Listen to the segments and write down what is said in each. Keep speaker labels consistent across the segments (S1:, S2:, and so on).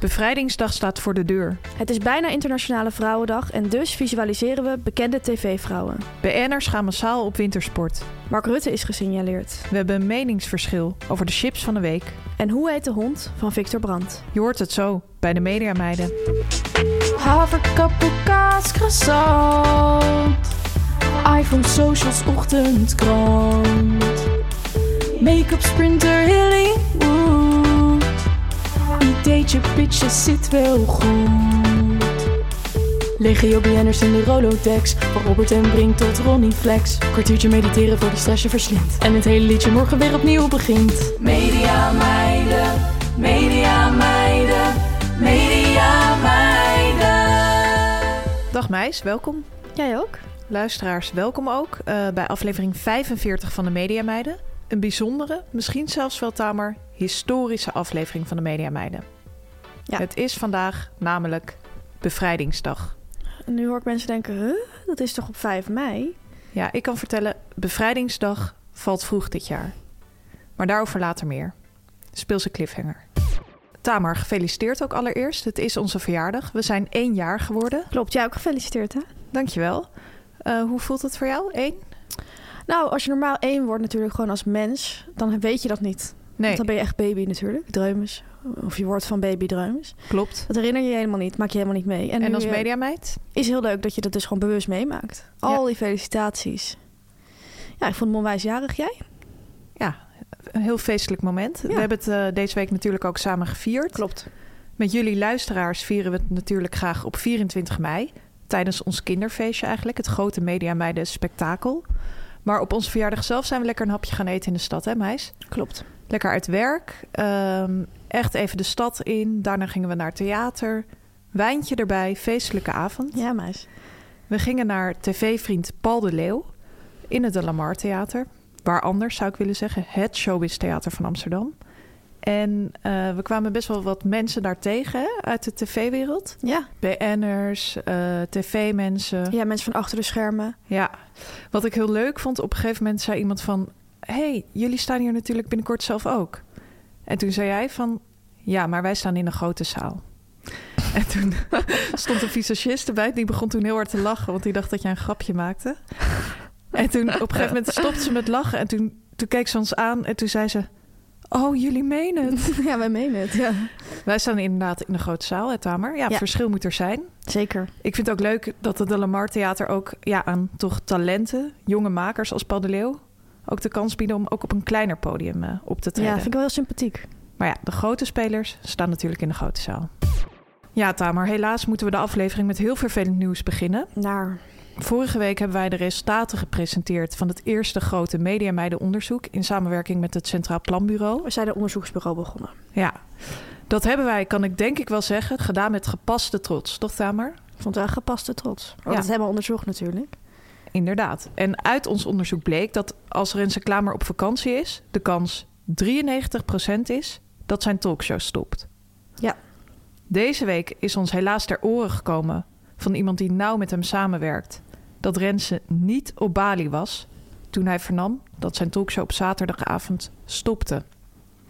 S1: Bevrijdingsdag staat voor de deur.
S2: Het is bijna Internationale Vrouwendag en dus visualiseren we bekende tv-vrouwen.
S1: BN'ers gaan massaal op wintersport.
S2: Mark Rutte is gesignaleerd.
S1: We hebben een meningsverschil over de chips van de week.
S2: En hoe heet de hond van Victor Brandt?
S1: Je hoort het zo bij de Mediameiden.
S3: Haverkappelkaas, croissant. iPhone, socials, ochtendkrant. Make-up, sprinter, Hollywood. Ideetje, pitjes, zit wel goed. Legio BN'ers in de Rolodex. Van Robert en Brink tot Ronnie Flex. Kwartiertje mediteren voor de stress je verslindt. En het hele liedje morgen weer opnieuw begint. Media meiden, media meiden, media meiden.
S1: Dag meis, welkom.
S2: Jij ook?
S1: Luisteraars, welkom ook eh, bij aflevering 45 van de Mediameiden. Een bijzondere, misschien zelfs wel tamer, historische aflevering van de Mediameiden.
S2: Ja.
S1: Het is vandaag namelijk Bevrijdingsdag.
S2: Nu hoor ik mensen denken, huh? dat is toch op 5 mei?
S1: Ja, ik kan vertellen, Bevrijdingsdag valt vroeg dit jaar. Maar daarover later meer. Speelse cliffhanger. Tamar, gefeliciteerd ook allereerst. Het is onze verjaardag. We zijn één jaar geworden.
S2: Klopt, jij ook gefeliciteerd hè?
S1: Dankjewel. Eh hoe voelt het voor jou? Eén?
S2: Nou, als je normaal één wordt natuurlijk gewoon als mens, dan weet je dat niet.
S1: Nee,
S2: Want dan ben je echt baby natuurlijk, druimes. Of je wordt van baby druimes.
S1: klopt.
S2: Dat herinner je je helemaal niet, maak je helemaal niet mee.
S1: En,
S2: nu,
S1: als
S2: eh,
S1: mediameid?
S2: is heel leuk dat je dat dus gewoon bewust meemaakt. Al die felicitaties. Ja, ik vond hem onwijs jarig, jij?
S1: Een heel feestelijk moment. We hebben het eh, deze week natuurlijk ook samen gevierd.
S2: Klopt.
S1: Met jullie luisteraars vieren we het natuurlijk graag op 24 mei. Tijdens ons kinderfeestje eigenlijk. Het grote Media Meiden spektakel. Maar op onze verjaardag zelf zijn we lekker een hapje gaan eten in de stad, hè meis?
S2: Klopt.
S1: Lekker uit werk. ehm, echt even de stad in. Daarna gingen we naar theater. Wijntje erbij. Feestelijke avond.
S2: Ja, meis.
S1: We gingen naar tv-vriend Paul de Leeuw in het De Lamar Theater. Waar anders zou ik willen zeggen, het showbiz theater van Amsterdam. En eh, we kwamen best wel wat mensen daar tegen hè, uit de tv-wereld.
S2: Ja.
S1: BN'ers, eh, tv-mensen. Ja.
S2: ja, mensen van achter de schermen.
S1: wat ik heel leuk vond, op een gegeven moment zei iemand van... hey, jullie staan hier natuurlijk binnenkort zelf ook. En toen zei jij van, ja, maar wij staan in een grote zaal. En toen stond een visagist erbij. Die begon toen heel hard te lachen, want die dacht dat jij een grapje maakte. En toen op een gegeven moment stopte ze met lachen. En toen, toen keek ze ons aan en toen zei ze... Oh, jullie menen het.
S2: ja, wij menen het. Ja.
S1: Wij staan inderdaad in een grote zaal, hè Tamer? Ja,
S2: Ja.
S1: verschil moet er zijn.
S2: Zeker.
S1: Ik vind het ook leuk dat het De Lamar Theater ook ja, aan toch talenten, jonge makers als Paul de Leeuw... ook de kans bieden om ook op een kleiner podium eh, op te treden.
S2: Ja, vind ik wel heel sympathiek.
S1: Maar ja, de grote spelers staan natuurlijk in de grote zaal. Ja, Tamer, helaas moeten we de aflevering met heel vervelend nieuws beginnen.
S2: Naar.
S1: Vorige week hebben wij de resultaten gepresenteerd van het eerste grote mediameidenonderzoek in samenwerking met het Centraal Planbureau.
S2: We zijn een onderzoeksbureau begonnen.
S1: Ja, dat hebben wij, kan ik denk ik wel zeggen, gedaan met gepaste trots, toch Tamer?
S2: Ik vond het wel gepaste trots. Want
S1: Ja.
S2: dat hebben we onderzocht natuurlijk.
S1: Inderdaad. En uit ons onderzoek bleek dat als Renze Klamer op vakantie is, de kans 93% is dat zijn talkshow stopt.
S2: Ja.
S1: Deze week is ons helaas ter oren gekomen van iemand die nauw met hem samenwerkt dat Renze niet op Bali was toen hij vernam dat zijn talkshow op zaterdagavond stopte.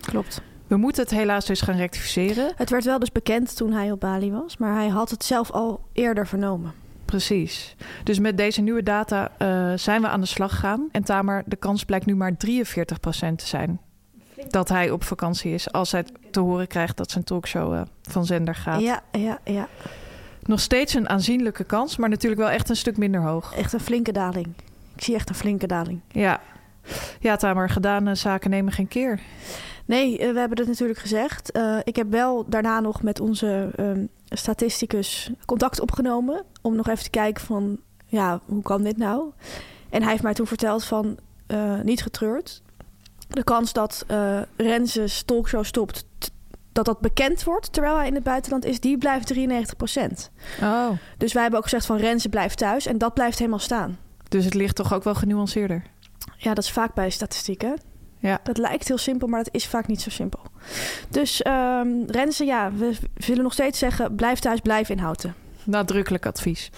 S2: Klopt.
S1: We moeten het helaas dus gaan rectificeren.
S2: Het werd wel dus bekend toen hij op Bali was, maar hij had het zelf al eerder vernomen.
S1: Precies. Dus met deze nieuwe data eh, zijn we aan de slag gegaan. En Tamer, de kans blijkt nu maar 43% te zijn dat hij op vakantie is als hij te horen krijgt dat zijn talkshow eh, van zender gaat.
S2: Ja, ja, ja.
S1: nog steeds een aanzienlijke kans, maar natuurlijk wel echt een stuk minder hoog.
S2: Echt een flinke daling. Ik zie echt een flinke daling.
S1: Ja, ja Tamer, gedane zaken nemen geen keer.
S2: Nee, eh, we hebben het natuurlijk gezegd. Eh, ik heb wel daarna nog met onze ehm, statisticus contact opgenomen. Om nog even te kijken van, ja, hoe kan dit nou? En hij heeft mij toen verteld van, eh, niet getreurd. De kans dat eh Renses talkshow stopt, t- dat dat bekend wordt terwijl hij in het buitenland is, die blijft 93
S1: Oh,
S2: Dus wij hebben ook gezegd van Renze blijft thuis en dat blijft helemaal staan.
S1: dus het ligt toch ook wel genuanceerder.
S2: Ja, dat is vaak bij statistieken.
S1: Ja.
S2: Dat lijkt heel simpel, maar dat is vaak niet zo simpel. Dus ehm Renze, ja, we zullen nog steeds zeggen blijf thuis, blijf inhouden.
S1: Nadrukkelijk advies.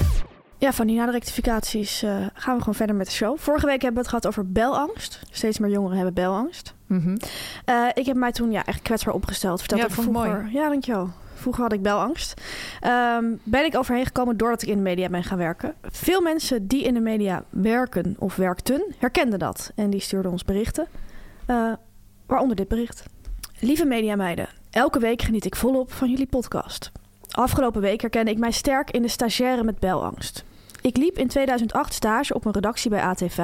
S2: Ja, van die na de rectificaties eh, gaan we gewoon verder met de show. Vorige week hebben we het gehad over belangst. Steeds meer jongeren hebben belangst.
S1: Mhm.
S2: Eh, ik heb mij toen ja, echt kwetsbaar opgesteld. Verteld
S1: Ja,
S2: dat
S1: vond ik
S2: vroeger. Ja, dankjewel. Vroeger had ik belangst. Ehm, ben ik overheen gekomen doordat ik in de media ben gaan werken. Veel mensen die in de media werken of werkten, herkenden dat. En die stuurden ons berichten. Eh, waaronder dit bericht. Lieve mediameiden, elke week geniet ik volop van jullie podcast. Afgelopen week herkende ik mij sterk in de stagiaire met belangst. Ik liep in 2008 stage op een redactie bij AT5.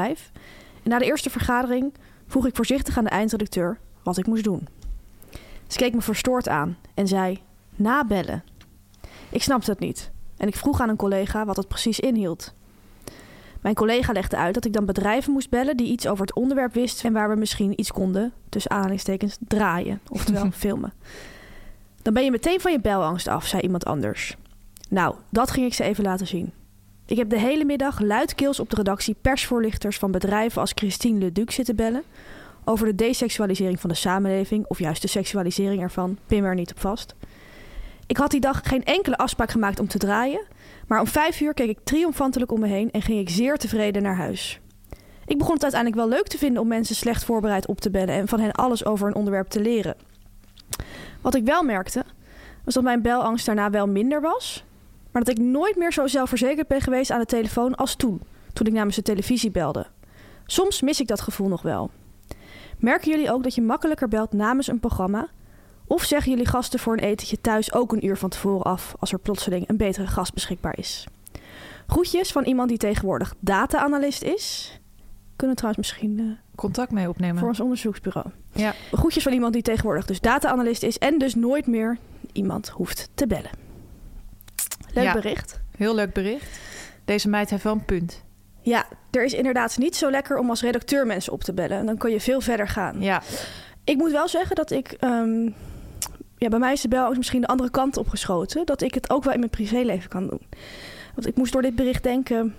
S2: En na de eerste vergadering vroeg ik voorzichtig aan de eindredacteur wat ik moest doen. Ze keek me verstoord aan en zei: nabellen. Ik snapte het niet en ik vroeg aan een collega wat het precies inhield. Mijn collega legde uit dat ik dan bedrijven moest bellen die iets over het onderwerp wisten en waar we misschien iets konden, tussen aanhalingstekens, draaien, oftewel filmen. Dan ben je meteen van je belangst af, zei iemand anders. Nou, dat ging ik ze even laten zien. Ik heb de hele middag luidkeels op de redactie persvoorlichters van bedrijven als Christine Leduc zitten bellen. Over de deseksualisering van de samenleving, of juist de seksualisering ervan, pin me er niet op vast. Ik had die dag geen enkele afspraak gemaakt om te draaien, maar om vijf uur keek ik triomfantelijk om me heen en ging ik zeer tevreden naar huis. Ik begon het uiteindelijk wel leuk te vinden om mensen slecht voorbereid op te bellen en van hen alles over een onderwerp te leren. Wat ik wel merkte, was dat mijn belangst daarna wel minder was, maar dat ik nooit meer zo zelfverzekerd ben geweest aan de telefoon als toen, toen ik namens de televisie belde. Soms mis ik dat gevoel nog wel. Merken jullie ook dat je makkelijker belt namens een programma? Of zeggen jullie gasten voor een etentje thuis ook een uur van tevoren af als er plotseling een betere gast beschikbaar is? Groetjes van iemand die tegenwoordig data-analyst is. Kunnen we trouwens misschien eh,
S1: Contact mee opnemen.
S2: voor ons onderzoeksbureau.
S1: Ja.
S2: Groetjes van iemand die tegenwoordig dus data-analyst is en dus nooit meer iemand hoeft te bellen. Leuk
S1: Ja.
S2: bericht.
S1: Heel leuk bericht. Deze meid heeft wel een punt.
S2: Ja, er is inderdaad niet zo lekker om als redacteur mensen op te bellen. Dan kun je veel verder gaan.
S1: Ja,
S2: Ik moet wel zeggen dat ik... ehm, ja, bij mij is de bel ook misschien de andere kant opgeschoten. Dat ik het ook wel in mijn privéleven kan doen. Want ik moest door dit bericht denken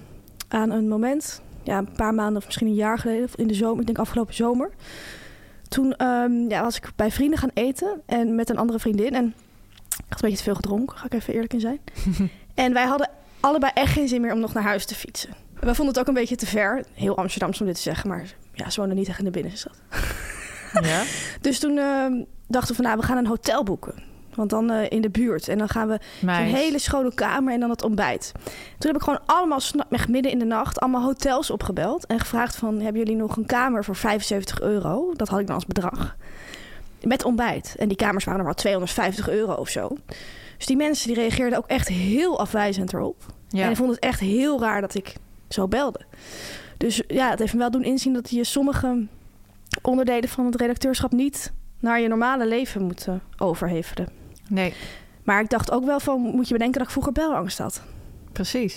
S2: aan een moment... Ja, een paar maanden of misschien een jaar geleden. of In de zomer, ik denk afgelopen zomer. Toen ehm, ja, was ik bij vrienden gaan eten. En met een andere vriendin. En ik had een beetje te veel gedronken. Ga ik even eerlijk in zijn. en wij hadden allebei echt geen zin meer om nog naar huis te fietsen. We vonden het ook een beetje te ver. Heel Amsterdams om dit te zeggen. Maar ja, ze woonden niet echt in de binnenstad.
S1: ja.
S2: Dus toen ehm, dachten we van, nou, we gaan een hotel boeken. Want dan eh, in de buurt. En dan gaan we een
S1: meid.
S2: hele schone kamer en dan het ontbijt. Toen heb ik gewoon allemaal, sna- echt midden in de nacht, allemaal hotels opgebeld. En gevraagd van, hebben jullie nog een kamer voor 75 euro? Dat had ik dan als bedrag. Met ontbijt. En die kamers waren nog maar 250 euro of zo. Dus die mensen die reageerden ook echt heel afwijzend erop. En
S1: Ja.
S2: ik vond het echt heel raar dat ik zo belde. Dus ja, het heeft me wel doen inzien dat je sommige onderdelen van het redacteurschap niet naar je normale leven moet eh, overhevelen.
S1: Nee,
S2: Maar ik dacht ook wel van, moet je bedenken dat ik vroeger belangst had.
S1: precies.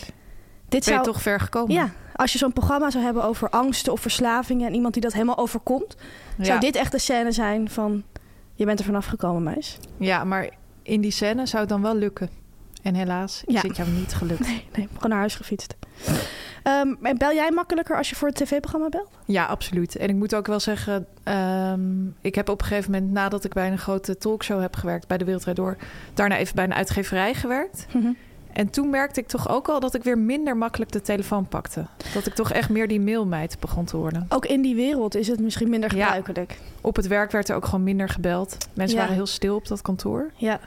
S2: Dit
S1: Ben je
S2: zou,
S1: toch ver gekomen?
S2: ja, als je zo'n programma zou hebben over angsten of verslavingen en iemand die dat helemaal overkomt, zou
S1: Ja.
S2: dit echt de scène zijn van, je bent er vanaf gekomen, meis.
S1: Ja, maar in die scène zou het dan wel lukken. En helaas is
S2: Ja.
S1: het jou niet gelukt.
S2: Nee, nee, gewoon naar huis gefietst. Ehm, en bel jij makkelijker als je voor het tv-programma belt?
S1: Ja, absoluut. En ik moet ook wel zeggen, ehm, ik heb op een gegeven moment nadat ik bij een grote talkshow heb gewerkt bij de Wereldrijd Door, daarna even bij een uitgeverij gewerkt. En toen merkte ik toch ook al dat ik weer minder makkelijk de telefoon pakte. Dat ik toch echt meer die mailmeid begon te worden.
S2: Ook in die wereld is het misschien minder
S1: Ja.
S2: gebruikelijk.
S1: Op het werk werd er ook gewoon minder gebeld. Mensen
S2: Ja.
S1: waren heel stil op dat kantoor.
S2: Ja.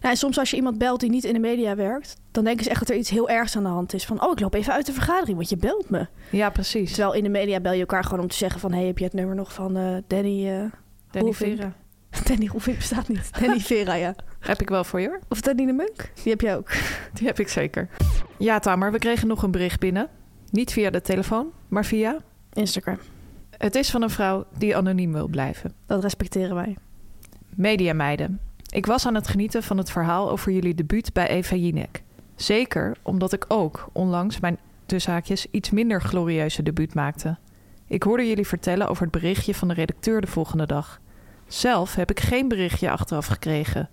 S2: Nou, en soms als je iemand belt die niet in de media werkt, dan denken ze echt dat er iets heel ergs aan de hand is. Van, oh, ik loop even uit de vergadering, want je belt me.
S1: Ja, precies.
S2: Terwijl in de media bel je elkaar gewoon om te zeggen van, hey, heb je het nummer nog van eh, Danny? eh?
S1: Danny
S2: Hoeveel-
S1: Vera.
S2: Danny Roelvink bestaat niet. Danny Vera, ja.
S1: Heb ik wel voor je hoor.
S2: Of Danny de Munk? Die heb jij ook.
S1: Die heb ik zeker. Ja, Tamer, we kregen nog een bericht binnen. Niet via de telefoon, maar via.
S2: Instagram.
S1: Het is van een vrouw die anoniem wil blijven.
S2: Dat respecteren wij.
S1: Mediameiden. Ik was aan het genieten van het verhaal over jullie debuut bij Eva Jinek. Zeker omdat ik ook onlangs mijn tussen haakjes iets minder glorieuze debuut maakte. Ik hoorde jullie vertellen over het berichtje van de redacteur de volgende dag. Zelf heb ik geen berichtje achteraf gekregen.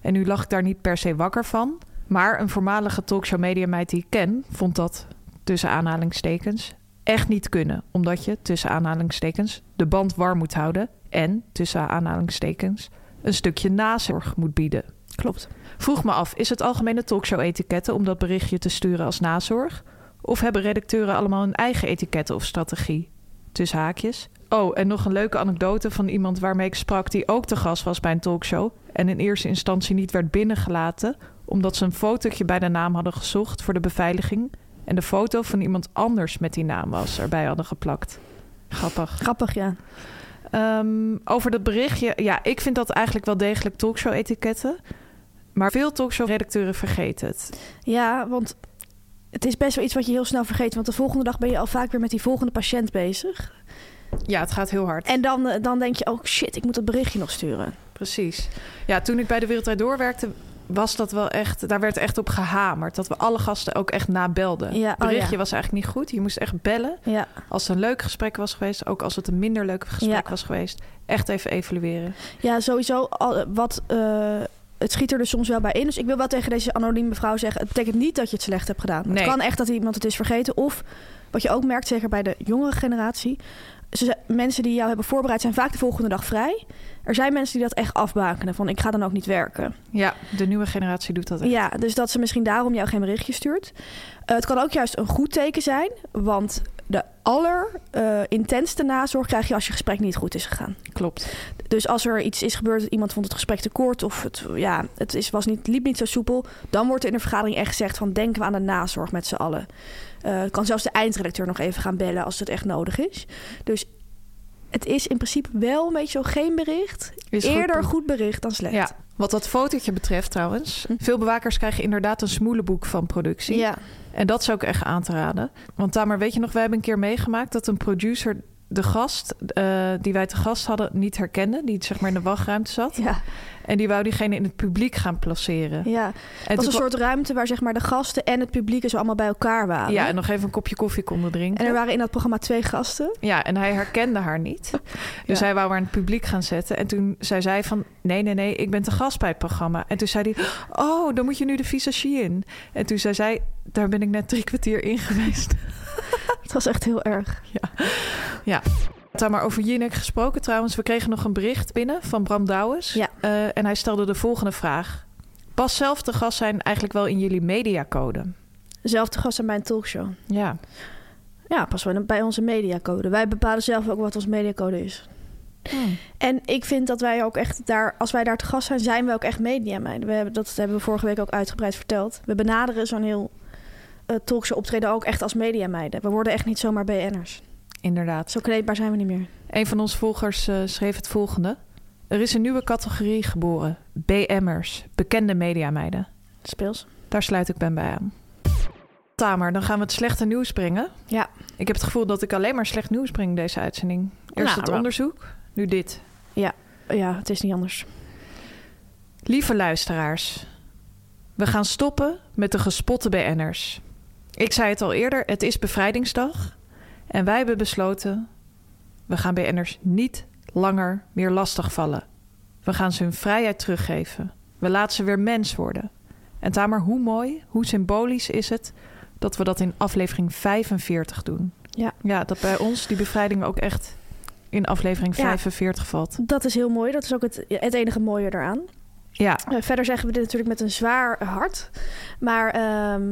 S1: En nu lag ik daar niet per se wakker van, maar een voormalige talkshow mediameid die ik ken, vond dat, tussen aanhalingstekens, echt niet kunnen. Omdat je, tussen aanhalingstekens, de band warm moet houden en, tussen aanhalingstekens, een stukje nazorg moet bieden.
S2: Klopt.
S1: Vroeg me af, is het algemene talkshow-etiketten om dat berichtje te sturen als nazorg? Of hebben redacteuren allemaal hun eigen etiketten of strategie? Tussen haakjes. Oh, en nog een leuke anekdote van iemand waarmee ik sprak die ook te gast was bij een talkshow en in eerste instantie niet werd binnengelaten omdat ze een fotootje bij de naam hadden gezocht voor de beveiliging en de foto van iemand anders met die naam was erbij hadden geplakt. Grappig.
S2: Grappig, ja.
S1: Ehm, over dat berichtje. Ja, ik vind dat eigenlijk wel degelijk talkshow-etiketten. Maar veel talkshow-redacteuren vergeten het.
S2: Ja, want het is best wel iets wat je heel snel vergeet. Want de volgende dag ben je al vaak weer met die volgende patiënt bezig.
S1: Ja, het gaat heel hard.
S2: En dan, eh, dan denk je, oh shit, ik moet dat berichtje nog sturen.
S1: Precies. Ja, toen ik bij De Wereld Draait Door werkte, was dat wel echt... Daar werd echt op gehamerd. Dat we alle gasten ook echt nabelden.
S2: Ja,
S1: het
S2: oh
S1: berichtje
S2: ja.
S1: was eigenlijk niet goed. Je moest echt bellen.
S2: Ja.
S1: Als het een leuk gesprek was geweest. Ook als het een minder leuk gesprek
S2: Ja.
S1: was geweest. Echt even evalueren.
S2: Ja, sowieso. al- eh, wat, eh, het schiet er dus soms wel bij in. Dus ik wil wel tegen deze anonieme vrouw zeggen... het betekent niet dat je het slecht hebt gedaan.
S1: Nee.
S2: Het kan echt dat iemand het is vergeten. Of, wat je ook merkt, zeker bij de jongere generatie... Ze, zijn- mensen die jou hebben voorbereid zijn vaak de volgende dag vrij. Er zijn mensen die dat echt afbakenen. Van, ik ga dan ook niet werken.
S1: Ja, de nieuwe generatie doet dat echt.
S2: Ja, dus dat ze misschien daarom jou geen berichtje stuurt. Eh, het kan ook juist een goed teken zijn. Want de allerintenste nazorg krijg je als je gesprek niet goed is gegaan.
S1: Klopt.
S2: Dus als er iets is gebeurd, iemand vond het gesprek te kort of het, ja, het is, was niet, liep niet zo soepel, dan wordt er in de vergadering echt gezegd van denken we aan de nazorg met z'n allen. Eh, kan zelfs de eindredacteur nog even gaan bellen als het echt nodig is. Dus het is in principe wel een beetje zo geen bericht.
S1: Is goed.
S2: Eerder goed, bericht dan slecht.
S1: Ja, wat dat fotootje betreft trouwens. Veel bewakers krijgen inderdaad een smoelenboek van productie.
S2: Mhm. Ja.
S1: En dat zou ik echt aan te raden. Want Tamer, weet je nog, wij hebben een keer meegemaakt dat een producer de gast eh, die wij te gast hadden niet herkende. Die zeg maar in de wachtruimte zat.
S2: Ja,
S1: En die wou diegene in het publiek gaan placeren.
S2: ja.
S1: En
S2: Het was
S1: toen
S2: een soort ruimte waar zeg maar, de gasten en het publiek zo allemaal bij elkaar
S1: kwa-
S2: waren.
S1: Ja, en nog even een kopje koffie konden drinken.
S2: en er waren in dat programma twee gasten.
S1: Ja, en hij herkende haar niet. Dus
S2: Ja.
S1: hij wou haar in het publiek gaan zetten. En toen zei zij van... Nee, nee, nee, ik ben te gast bij het programma. En toen zei hij... Oh, dan moet je nu de visagie in. En toen zei zij... Daar ben ik net drie kwartier in geweest.
S2: Het was echt heel erg.
S1: Daar maar over Jinek gesproken trouwens. We kregen nog een bericht binnen van Bram Douwens.
S2: Ja.
S1: Eh, en hij stelde de volgende vraag. Pas zelf te gast zijn eigenlijk wel in jullie mediacode?
S2: Zelfde gast aan mijn talkshow.
S1: Ja.
S2: Ja, pas wel bij onze mediacode. Wij bepalen zelf ook wat onze mediacode is. En ik vind dat wij ook echt daar, als wij daar te gast zijn, zijn we ook echt mediameiden. We hebben, dat hebben we vorige week ook uitgebreid verteld. We benaderen zo'n heel eh talkshow optreden ook echt als mediameiden. We worden echt niet zomaar BN'ers.
S1: Inderdaad.
S2: Zo kleedbaar zijn we niet meer.
S1: Een van onze volgers eh, schreef het volgende. Er is een nieuwe categorie geboren. BM'ers. Bekende mediameiden.
S2: Speels.
S1: Daar sluit ik Ben bij aan. Tamer, dan gaan we het slechte nieuws brengen.
S2: Ja.
S1: Ik heb het gevoel dat ik alleen maar slecht nieuws breng deze uitzending. Eerst
S2: Nou,
S1: het
S2: wel.
S1: onderzoek, nu dit.
S2: Ja, het is niet anders.
S1: Lieve luisteraars, we gaan stoppen met de gespotte BN'ers. Ik zei het al eerder, het is bevrijdingsdag. En wij hebben besloten, we gaan BN'ers niet langer meer lastigvallen. We gaan ze hun vrijheid teruggeven. We laten ze weer mens worden. En Tamer, hoe mooi, hoe symbolisch is het dat we dat in aflevering 45 doen.
S2: Ja.
S1: ja dat bij ons die bevrijding ook echt in aflevering
S2: Ja.
S1: 45 valt.
S2: Dat is heel mooi. Dat is ook het, het enige mooie eraan.
S1: Ja,
S2: Eh, verder zeggen we dit natuurlijk met een zwaar hart. Maar ehm,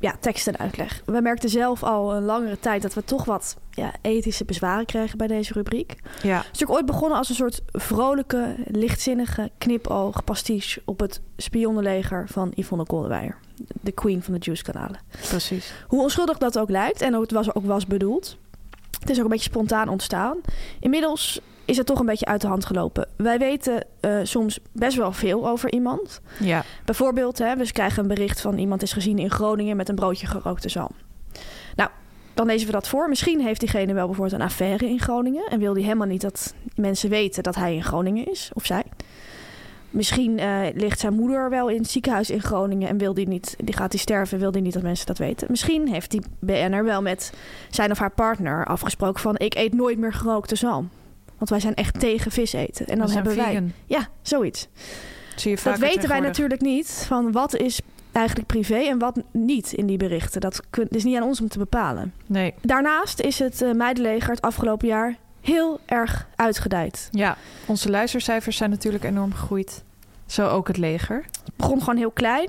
S2: ja, tekst en uitleg. We merkten zelf al een langere tijd dat we toch wat ja, ethische bezwaren kregen bij deze rubriek. Het
S1: ja.
S2: is natuurlijk ooit begonnen als een soort vrolijke, lichtzinnige knipoog pastiche op het spionnenleger van Yvonne Koldewijer. De queen van de juice-kanalen.
S1: precies.
S2: Hoe onschuldig dat ook lijkt en hoe het was, ook was bedoeld. Het is ook een beetje spontaan ontstaan. Inmiddels is het toch een beetje uit de hand gelopen. Wij weten eh, soms best wel veel over iemand.
S1: Ja.
S2: Bijvoorbeeld, hè, we krijgen een bericht van iemand is gezien in Groningen met een broodje gerookte zalm. Nou, dan lezen we dat voor. Misschien heeft diegene wel bijvoorbeeld een affaire in Groningen en wil die helemaal niet dat mensen weten dat hij in Groningen is of zij. Misschien eh, ligt zijn moeder wel in het ziekenhuis in Groningen en wil die niet, die gaat die sterven, wil die niet dat mensen dat weten. Misschien heeft die BN'er wel met zijn of haar partner afgesproken van ik eet nooit meer gerookte zalm. Want wij zijn echt tegen vis eten. En dan
S1: We zijn
S2: hebben wij.
S1: vegan.
S2: Ja, zoiets
S1: Zie je vaker
S2: dat weten wij
S1: tegenwoordig.
S2: natuurlijk niet. Van wat is eigenlijk privé en wat niet in die berichten. Dat kun- is niet aan ons om te bepalen.
S1: Nee.
S2: Daarnaast is het eh, meidenleger het afgelopen jaar heel erg uitgedijd.
S1: Ja, onze luistercijfers zijn natuurlijk enorm gegroeid. Zo ook het leger.
S2: Het begon gewoon heel klein.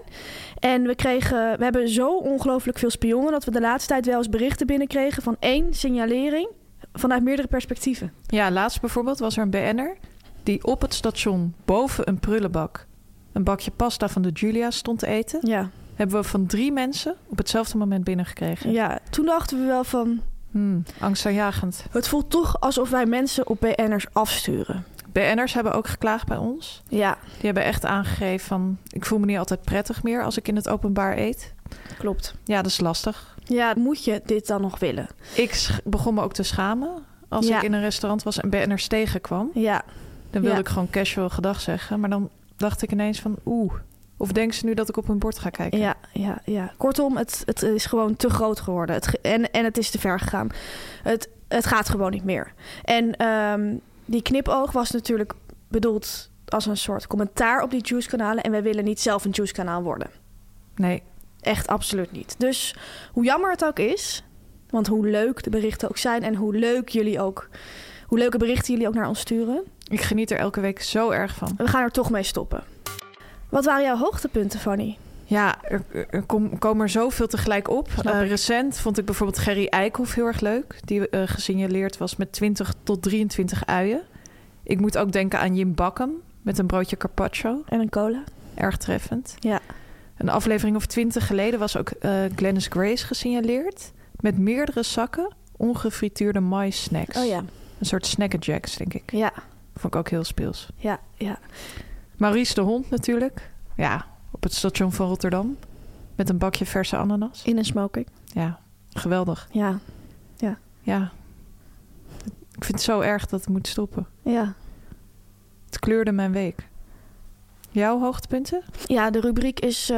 S2: En we, kregen, we hebben zo ongelooflijk veel spionnen... dat we de laatste tijd wel eens berichten binnenkregen... van één signalering vanuit meerdere perspectieven.
S1: Ja, laatst bijvoorbeeld was er een BN'er die op het station boven een prullenbak een bakje pasta van de Julia stond te eten.
S2: Ja,
S1: Hebben we van drie mensen op hetzelfde moment binnengekregen.
S2: ja. toen dachten we wel van...
S1: Hmm, angstaanjagend.
S2: het voelt toch alsof wij mensen op BN'ers afsturen.
S1: BN'ers hebben ook geklaagd bij ons.
S2: Ja,
S1: Die hebben echt aangegeven van... ik voel me niet altijd prettig meer als ik in het openbaar eet.
S2: klopt.
S1: Ja, dat is lastig.
S2: Ja, moet je dit dan nog willen?
S1: Ik sch- begon me ook te schamen als
S2: Ja.
S1: ik in een restaurant was en BN'ers tegenkwam.
S2: Ja,
S1: Dan wilde
S2: Ja.
S1: ik gewoon casual gedag zeggen. Maar dan dacht ik ineens van oeh. Of denken ze nu dat ik op hun bord ga kijken?
S2: Ja, ja, ja. Kortom, het, het is gewoon te groot geworden. Het, ge- en, en het is te ver gegaan. Het, het gaat gewoon niet meer. En ehm, die knipoog was natuurlijk bedoeld als een soort commentaar op die juice-kanalen. En wij willen niet zelf een juice-kanaal worden.
S1: Nee.
S2: Echt absoluut niet. Dus hoe jammer het ook is, want hoe leuk de berichten ook zijn en hoe leuk jullie ook, hoe leuke berichten jullie ook naar ons sturen,
S1: Ik geniet er elke week zo erg van.
S2: we gaan er toch mee stoppen. Wat waren jouw hoogtepunten, Fanny?
S1: Ja, er, er kom- komen er zoveel tegelijk op.
S2: Snap
S1: Eh,
S2: ik.
S1: recent vond ik bijvoorbeeld Gerry Eikhoff heel erg leuk. Die eh, gesignaleerd was met 20 tot 23 uien. Ik moet ook denken aan Jim Bakken met een broodje carpaccio.
S2: En een cola?
S1: Erg treffend.
S2: Ja.
S1: Een aflevering of twintig geleden was ook eh Glennis Grace gesignaleerd. Met meerdere zakken ongefrituurde maïssnacks.
S2: Oh ja.
S1: Een soort snackerjacks, denk ik.
S2: Ja,
S1: Vond ik ook heel speels.
S2: ja, ja.
S1: Maurice de Hond natuurlijk. Ja, op het station van Rotterdam. Met een bakje verse ananas.
S2: In een smoking.
S1: Ja, geweldig.
S2: Ja,
S1: Ja. Ik vind het zo erg dat het moet stoppen.
S2: ja.
S1: Het kleurde mijn week. Jouw hoogtepunten?
S2: Ja, de rubriek is eh,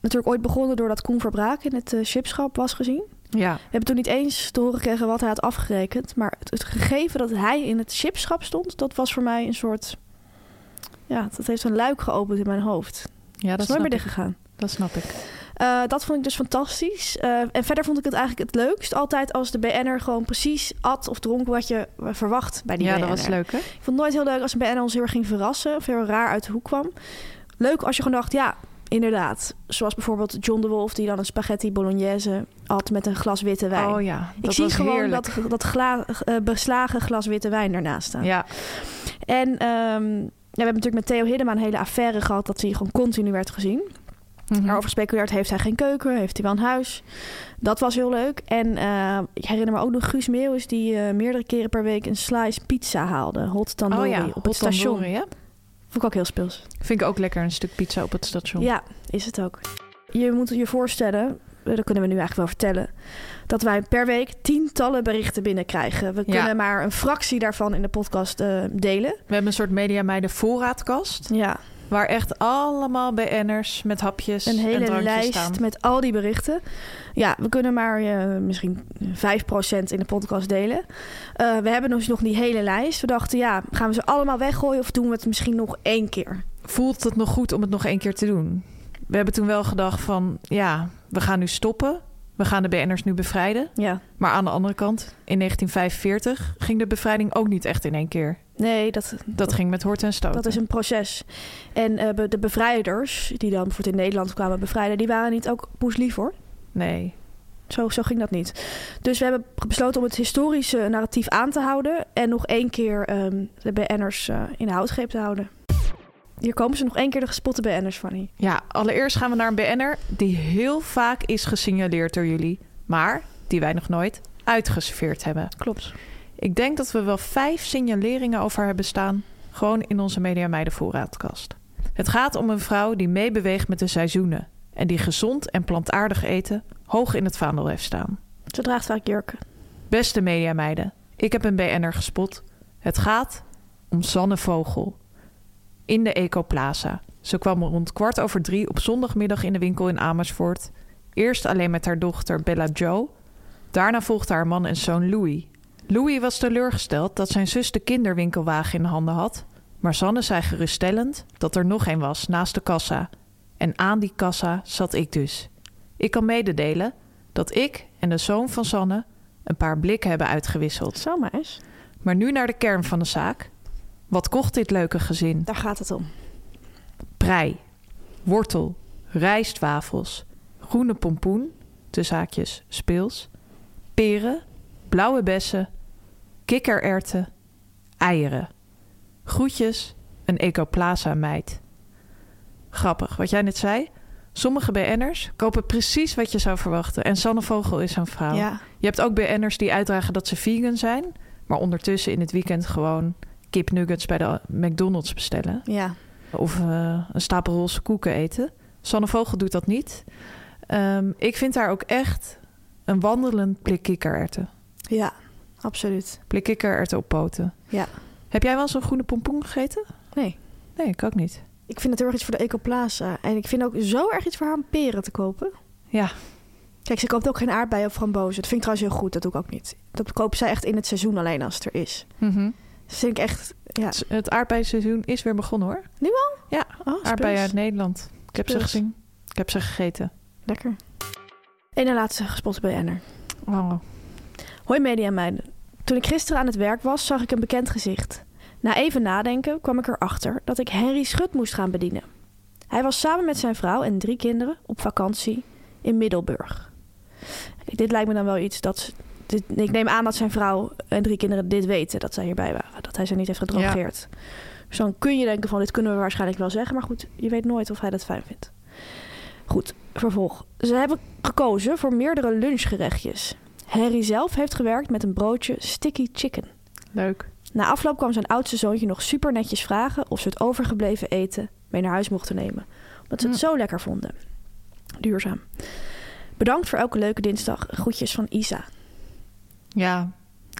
S2: natuurlijk ooit begonnen doordat Koen Verbraak in het eh, chipschap was gezien.
S1: Ja.
S2: We hebben toen niet eens te horen gekregen wat hij had afgerekend. Maar het, het gegeven dat hij in het chipschap stond, dat was voor mij een soort... Ja, dat heeft een luik geopend in mijn hoofd.
S1: Ja,
S2: dat is
S1: dat,
S2: nooit
S1: snap
S2: meer
S1: ik.
S2: dichtgegaan.
S1: dat snap ik.
S2: Eh, dat vond ik dus fantastisch. Eh, en verder vond ik het eigenlijk het leukst altijd als de BN'er gewoon precies at of dronk wat je eh, verwacht bij die
S1: Ja, dat
S2: BN'er.
S1: was leuk, hè?
S2: Ik vond het nooit heel leuk als een BN'er ons heel erg ging verrassen of heel raar uit de hoek kwam. Leuk als je gewoon dacht, ja, inderdaad. Zoals bijvoorbeeld John de Wolf die dan een spaghetti bolognese had met een glas witte wijn.
S1: Oh ja, dat
S2: Ik zie
S1: was
S2: gewoon
S1: heerlijk.
S2: dat, dat gla- eh, beslagen glas witte wijn ernaast staan.
S1: Ja,
S2: En ehm, ja, we hebben natuurlijk met Theo Hiddema een hele affaire gehad dat hij gewoon continu werd gezien.
S1: Mhm.
S2: Daarover gespeculeerd heeft hij geen keuken, heeft hij wel een huis. Dat was heel leuk. En eh, ik herinner me ook nog Guus Meeuwis die eh, meerdere keren per week een slice pizza haalde. Hot tandoori op
S1: Oh hot
S2: het station.
S1: tandoori, hè?
S2: Vond ik ook heel speels.
S1: Vind ik ook lekker een stuk pizza op het station.
S2: Ja, is het ook. Je moet je voorstellen, eh, dat kunnen we nu eigenlijk wel vertellen, dat wij per week tientallen berichten binnenkrijgen. We
S1: Ja.
S2: kunnen maar een fractie daarvan in de podcast eh, delen.
S1: We hebben een soort Media Meiden voorraadkast.
S2: Ja,
S1: Waar echt allemaal BN'ers met hapjes
S2: een
S1: en
S2: hele
S1: drankjes
S2: lijst
S1: staan.
S2: met al die berichten. Ja, we kunnen maar eh, misschien 5% in de podcast delen. Eh, we hebben dus nog die hele lijst. We dachten, ja, gaan we ze allemaal weggooien of doen we het misschien nog één keer?
S1: Voelt het nog goed om het nog één keer te doen? We hebben toen wel gedacht van, ja, we gaan nu stoppen. We gaan de BN'ers nu bevrijden.
S2: Ja.
S1: Maar aan de andere kant, in 1945 ging de bevrijding ook niet echt in één keer.
S2: Nee, dat,
S1: Dat ging met hort en stoot.
S2: Dat is een proces. En eh, be- de bevrijders, die dan bijvoorbeeld in Nederland kwamen bevrijden, die waren niet ook poeslief hoor.
S1: Nee.
S2: Zo, zo ging dat niet. Dus we hebben besloten om het historische narratief aan te houden. En nog één keer ehm, de BN'ers eh, in de houtgreep te houden. Hier komen ze nog één keer de gespotte BN'ers, Fanny.
S1: Ja, allereerst gaan we naar een BN'er die heel vaak is gesignaleerd door jullie. Maar die wij nog nooit uitgeserveerd hebben.
S2: Klopt.
S1: Ik denk dat we wel vijf signaleringen over haar bestaan. Gewoon in onze Media Meiden voorraadkast. Het gaat om een vrouw die meebeweegt met de seizoenen. En die gezond en plantaardig eten hoog in het vaandel heeft staan.
S2: Ze draagt vaak jurken.
S1: Beste mediameiden, ik heb een BN'er gespot. Het gaat om Sanne Vogel. In de Ecoplaza. Ze kwam rond kwart over drie op zondagmiddag in de winkel in Amersfoort. Eerst alleen met haar dochter Bella Jo. Daarna volgde haar man en zoon Louis. Louis was teleurgesteld dat zijn zus de kinderwinkelwagen in handen had. Maar Sanne zei geruststellend dat er nog een was naast de kassa. En aan die kassa zat ik dus. Ik kan mededelen dat ik en de zoon van Sanne een paar blikken hebben uitgewisseld.
S2: Zo maar eens.
S1: Maar nu naar de kern van de zaak. Wat kocht dit leuke gezin?
S2: Daar gaat het om.
S1: Prei, wortel, rijstwafels, groene pompoen, de zaakjes speels, peren, blauwe bessen, kikkererwten, eieren. Groetjes, een Ecoplaza-meid. Grappig, wat jij net zei. Sommige BN'ers kopen precies wat je zou verwachten. En Sanne Vogel is een vrouw.
S2: Ja.
S1: Je hebt ook BN'ers die uitdragen dat ze vegan zijn... maar ondertussen in het weekend gewoon kipnuggets bij de McDonald's bestellen.
S2: Ja.
S1: Of eh, een stapel roze koeken eten. Sanne Vogel doet dat niet. Ehm, ik vind haar ook echt een wandelend blik kikkererwten.
S2: Ja. Absoluut.
S1: Blik kikkererwten op poten.
S2: Ja.
S1: Heb jij wel zo'n groene pompoen gegeten?
S2: Nee.
S1: Nee, ik ook niet.
S2: Ik vind het heel erg iets voor de Ecoplaza. En ik vind ook zo erg iets voor haar om peren te kopen.
S1: Ja,
S2: Kijk, ze koopt ook geen aardbeien of frambozen. Dat vind ik trouwens heel goed. Dat doe ik ook niet. Dat koopt zij echt in het seizoen alleen als het er is. Dat vind ik echt... Ja.
S1: Het- het aardbeiseizoen is weer begonnen hoor.
S2: Nu al?
S1: Ja,
S2: Oh,
S1: aardbeien
S2: speels.
S1: uit Nederland. Ik heb ze
S2: Speels.
S1: gezien. Ik heb ze gegeten.
S2: Lekker. En de laatste gespot bij Enner.
S1: Oh.
S2: Hoi media meiden. Toen ik gisteren aan het werk was, zag ik een bekend gezicht. Na even nadenken kwam ik erachter dat ik Henry Schut moest gaan bedienen. Hij was samen met zijn vrouw en drie kinderen op vakantie in Middelburg. Dit lijkt me dan wel iets dat... ze- dit- ik neem aan dat zijn vrouw en drie kinderen dit weten, dat zij hierbij waren. Dat hij ze niet heeft gedrogeerd. Dus dan kun je denken van, dit kunnen we waarschijnlijk wel zeggen. Maar goed, je weet nooit of hij dat fijn vindt. Goed, vervolg. Ze hebben gekozen voor meerdere lunchgerechtjes. Harry zelf heeft gewerkt met een broodje sticky chicken.
S1: Leuk.
S2: Na afloop kwam zijn oudste zoontje nog super netjes vragen of ze het overgebleven eten mee naar huis mochten nemen. Omdat ze
S1: Hm.
S2: het zo lekker vonden. Duurzaam. Bedankt voor elke leuke dinsdag. Groetjes van Isa.
S1: Ja,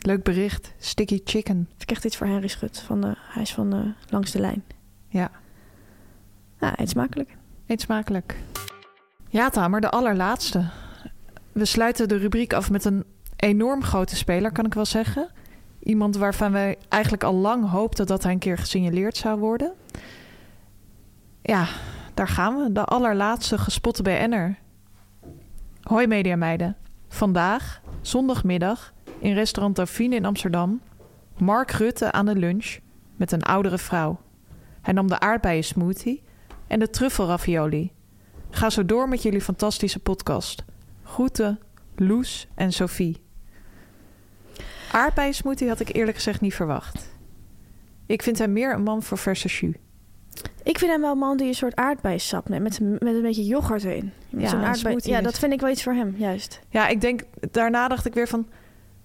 S1: leuk bericht. Sticky chicken.
S2: Ik krijg dit voor Henry Schut. Van eh, hij is van eh, Langs de Lijn.
S1: Ja,
S2: Nou, eet smakelijk.
S1: eet smakelijk. Ja, Tamer, de allerlaatste. We sluiten de rubriek af met een enorm grote speler, kan ik wel zeggen. Iemand waarvan wij eigenlijk al lang hoopten dat hij een keer gesignaleerd zou worden. Ja, daar gaan we. De allerlaatste gespotte BN'er. Hoi mediameiden. Vandaag, zondagmiddag, in restaurant Dauphine in Amsterdam... Mark Rutte aan de lunch met een oudere vrouw. Hij nam de aardbeien smoothie en de truffelravioli. Ga zo door met jullie fantastische podcast. Groeten, Loes en Sophie. Aardbeien smoothie had ik eerlijk gezegd niet verwacht. Ik vind hem meer een man voor verse jus.
S2: Ik vind hem wel een man die een soort aardbeissap neemt. Met, met een beetje yoghurt erin. Met
S1: Ja,
S2: zo'n
S1: een
S2: aardbei-
S1: smoothie
S2: ja,
S1: is-
S2: dat vind ik wel iets voor hem, juist.
S1: Ja, ik denk, daarna dacht ik weer van...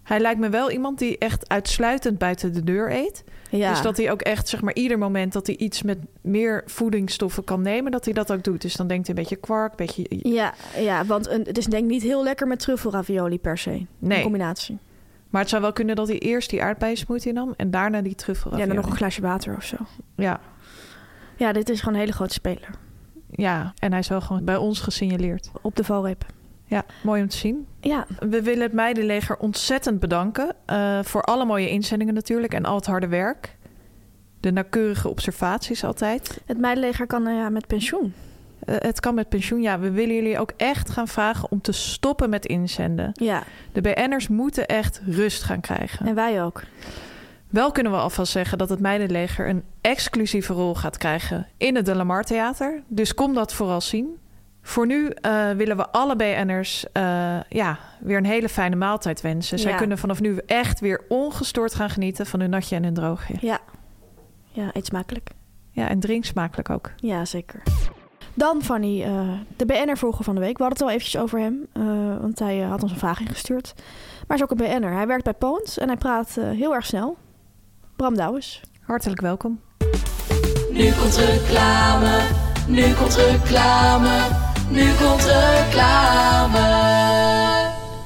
S1: Hij lijkt me wel iemand die echt uitsluitend buiten de deur eet.
S2: Ja.
S1: Dus dat hij ook echt, zeg maar, ieder moment dat hij iets met meer voedingsstoffen kan nemen, dat hij dat ook doet. Dus dan denkt hij een beetje kwark, een beetje
S2: Ja, ja want een, het is denk ik niet heel lekker met truffelravioli per se.
S1: Nee.
S2: Een combinatie.
S1: Maar het zou wel kunnen dat hij eerst die aardbeismoothie nam en daarna die truffel.
S2: Ja, en dan nog een glaasje water of zo.
S1: ja,
S2: Ja, dit is gewoon een hele grote speler.
S1: ja, en hij is wel gewoon bij ons gesignaleerd.
S2: Op de valreep.
S1: Ja, mooi om te zien.
S2: Ja,
S1: We willen het Meidenleger ontzettend bedanken eh, voor alle mooie inzendingen natuurlijk en al het harde werk. De nauwkeurige observaties altijd.
S2: het meidenleger kan eh, ja, met pensioen.
S1: Eh, het kan met pensioen. Ja, we willen jullie ook echt gaan vragen om te stoppen met inzenden.
S2: Ja,
S1: De BN'ers moeten echt rust gaan krijgen.
S2: en wij ook.
S1: Wel kunnen we alvast zeggen dat het Meidenleger een exclusieve rol gaat krijgen in het De Lamar Theater. Dus kom dat vooral zien. Voor nu eh, willen we alle BN'ers eh, ja, weer een hele fijne maaltijd wensen. Zij
S2: Ja.
S1: kunnen vanaf nu echt weer ongestoord gaan genieten van hun natje en hun droogje.
S2: Ja. Ja, eet smakelijk.
S1: Ja, en drink smakelijk ook.
S2: Ja, zeker. Dan Fanny, eh de BN'er vroeger van de week. We hadden het al eventjes over hem, eh, want hij eh, had ons een vraag ingestuurd. Maar hij is ook een BN'er. Hij werkt bij Poont en hij praat eh, heel erg snel. Bram Douwens.
S1: Hartelijk welkom.
S3: Nu komt reclame, nu komt reclame, nu komt reclame.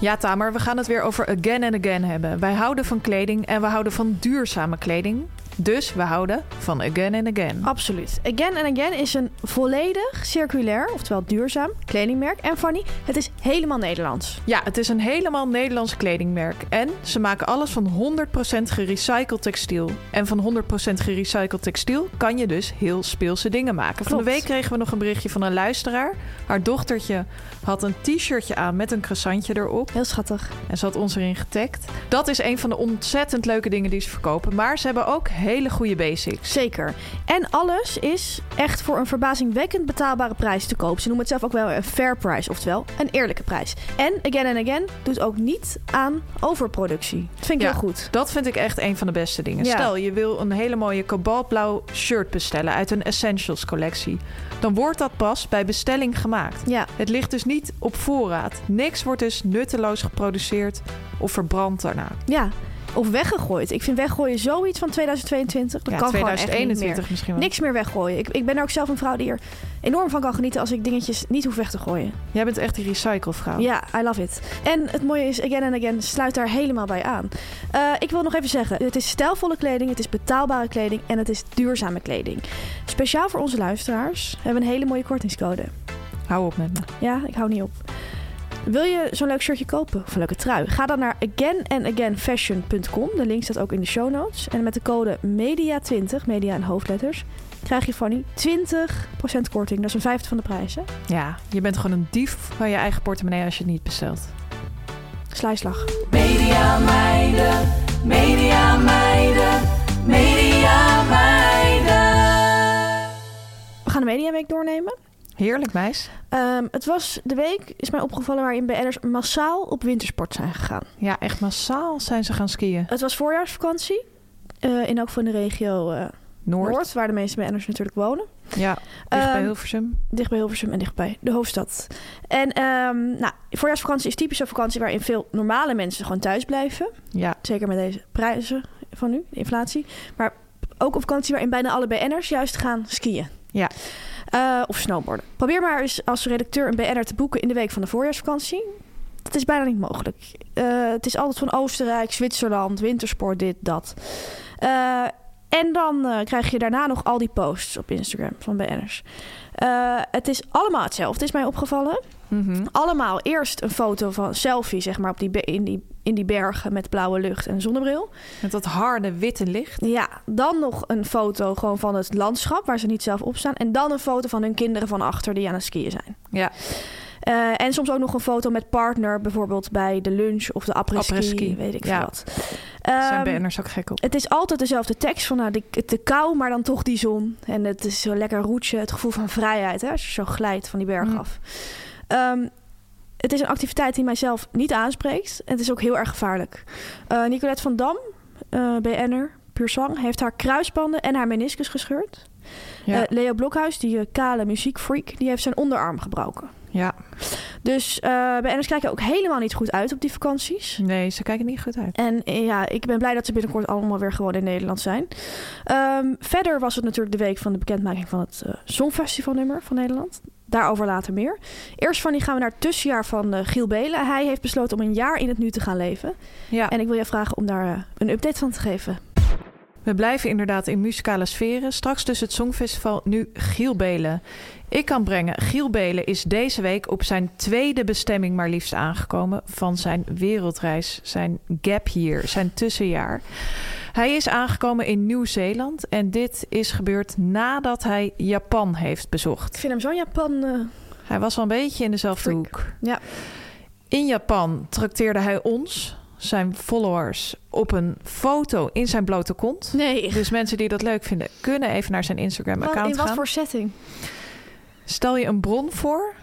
S1: Ja, Tamer, we gaan het weer over again and again hebben. Wij houden van kleding en we houden van duurzame kleding. Dus we houden van again and again.
S2: Absoluut. Again and Again is een volledig circulair, oftewel duurzaam, kledingmerk. En Fanny, het is helemaal Nederlands.
S1: Ja, het is een helemaal Nederlands kledingmerk. En ze maken alles van 100% gerecycled textiel. En van 100% gerecycled textiel kan je dus heel speelse dingen maken. Van de
S2: Klopt.
S1: week kregen we nog een berichtje van een luisteraar. Haar dochtertje had een t-shirtje aan met een croissantje erop.
S2: Heel schattig.
S1: En ze had ons erin getagd. Dat is een van de ontzettend leuke dingen die ze verkopen. Maar ze hebben ook hele goede basics.
S2: Zeker. En alles is echt voor een verbazingwekkend betaalbare prijs te koop. Ze noemen het zelf ook wel een fair price, oftewel een eerlijke prijs. En Again and Again doet ook niet aan overproductie. Dat vind ik
S1: Ja.
S2: heel goed.
S1: Dat vind ik echt een van de beste dingen.
S2: Ja.
S1: Stel, je wil een hele mooie kobaltblauw shirt bestellen uit een Essentials collectie. Dan wordt dat pas bij bestelling gemaakt.
S2: Ja,
S1: Het ligt dus niet op voorraad. Niks wordt dus nutteloos geproduceerd of verbrand daarna.
S2: ja. Of weggegooid. Ik vind weggooien zoiets van 2022. Dat
S1: ja,
S2: kan gewoon echt niet meer.
S1: 2021 misschien wel.
S2: Niks meer weggooien. Ik, ik ben er ook zelf een vrouw die er enorm van kan genieten als ik dingetjes niet hoef weg te gooien.
S1: Jij bent echt een recyclevrouw.
S2: Ja, I love it. En het mooie is, Again and Again sluit daar helemaal bij aan. Eh, ik wil nog even zeggen, het is stijlvolle kleding, het is betaalbare kleding en het is duurzame kleding. Speciaal voor onze luisteraars hebben we een hele mooie kortingscode.
S1: Hou op met me.
S2: Ja, ik hou niet op. Wil je zo'n leuk shirtje kopen of een leuke trui? Ga dan naar againandagainfashion.com. De link staat ook in de show notes. En met de code MEDIA20, media in hoofdletters, krijg je Fanny 20% korting. Dat is een vijfde van de prijs, hè?
S1: Ja, je bent gewoon een dief van je eigen portemonnee als je het niet bestelt.
S2: Slijslag.
S3: Media meiden, media meiden, media meiden.
S2: We gaan de Media Week doornemen.
S1: Heerlijk, meis.
S2: Ehm, het was de week, is mij opgevallen, waarin BN'ers massaal op wintersport zijn gegaan.
S1: Ja, echt massaal zijn ze gaan skiën.
S2: Het was voorjaarsvakantie. eh, in elk van de regio eh,
S1: Noord.
S2: Noord. waar de meeste BN'ers natuurlijk wonen.
S1: Ja, dicht bij
S2: Ehm,
S1: Hilversum.
S2: Dicht bij Hilversum en dicht bij de hoofdstad. En ehm nou, voorjaarsvakantie is typisch een vakantie waarin veel normale mensen gewoon thuis blijven.
S1: Ja,
S2: Zeker met deze prijzen van nu, de inflatie. Maar ook een vakantie waarin bijna alle BN'ers juist gaan skiën.
S1: Ja.
S2: Eh, of snowboarden. Probeer maar eens als redacteur een BN'er te boeken in de week van de voorjaarsvakantie. Dat is bijna niet mogelijk. Eh, het is altijd van Oostenrijk, Zwitserland, wintersport, dit, dat. Eh, en dan eh, krijg je daarna nog al die posts op Instagram van BN'ers. Eh, het is allemaal hetzelfde, is mij opgevallen
S1: Mhm.
S2: allemaal eerst een foto van selfie, zeg maar, op die be- in, die, in die bergen met blauwe lucht en zonnebril.
S1: met dat harde witte licht.
S2: Ja, dan nog een foto gewoon van het landschap waar ze niet zelf op staan. En dan een foto van hun kinderen van achter die aan het skiën zijn.
S1: Ja,
S2: Eh, en soms ook nog een foto met partner, bijvoorbeeld bij de lunch of de
S1: Après-ski,
S2: après-ski, weet ik veel
S1: ja.
S2: wat.
S1: zijn
S2: Ehm,
S1: BN'ers ook gek op.
S2: het is altijd dezelfde tekst van nou, de, de kou, maar dan toch die zon. En het is zo lekker roetje, het gevoel van vrijheid hè, als je zo glijdt van die berg
S1: Mm.
S2: af. Ehm, het is een activiteit die mijzelf niet aanspreekt. En het is ook heel erg gevaarlijk. Eh, Nicolette van Dam, eh BN'er, puur zang, heeft haar kruisbanden en haar meniscus gescheurd.
S1: Ja,
S2: Eh, Leo Blokhuis, die eh, kale muziekfreak, die heeft zijn onderarm gebroken.
S1: ja.
S2: Dus eh BN'ers kijken ook helemaal niet goed uit op die vakanties.
S1: Nee, ze kijken niet goed uit.
S2: En eh, ja, ik ben blij dat ze binnenkort allemaal weer gewoon in Nederland zijn. Ehm, verder was het natuurlijk de week van de bekendmaking van het eh, Songfestivalnummer van Nederland. Daarover later meer. Eerst van die gaan we naar het tussenjaar van eh, Giel Belen. Hij heeft besloten om een jaar in het nu te gaan leven.
S1: Ja.
S2: En ik wil je vragen om daar eh, een update van te geven.
S1: We blijven inderdaad in muzikale sferen. Straks dus het Songfestival, nu Giel Belen. Ik kan brengen, Giel Belen is deze week op zijn tweede bestemming maar liefst aangekomen van zijn wereldreis, zijn gap year, zijn tussenjaar. Hij is aangekomen in Nieuw-Zeeland en dit is gebeurd nadat hij Japan heeft bezocht.
S2: Ik vind hem zo'n Japan. eh,
S1: Hij was al een beetje in dezelfde
S2: Freak.
S1: hoek.
S2: Ja.
S1: In Japan trakteerde hij ons, zijn followers, op een foto in zijn blote kont.
S2: nee.
S1: Dus mensen die dat leuk vinden, kunnen even naar zijn
S2: Wat-
S1: Instagram-account
S2: in wat
S1: gaan.
S2: voor setting?
S1: Stel je een bron voor,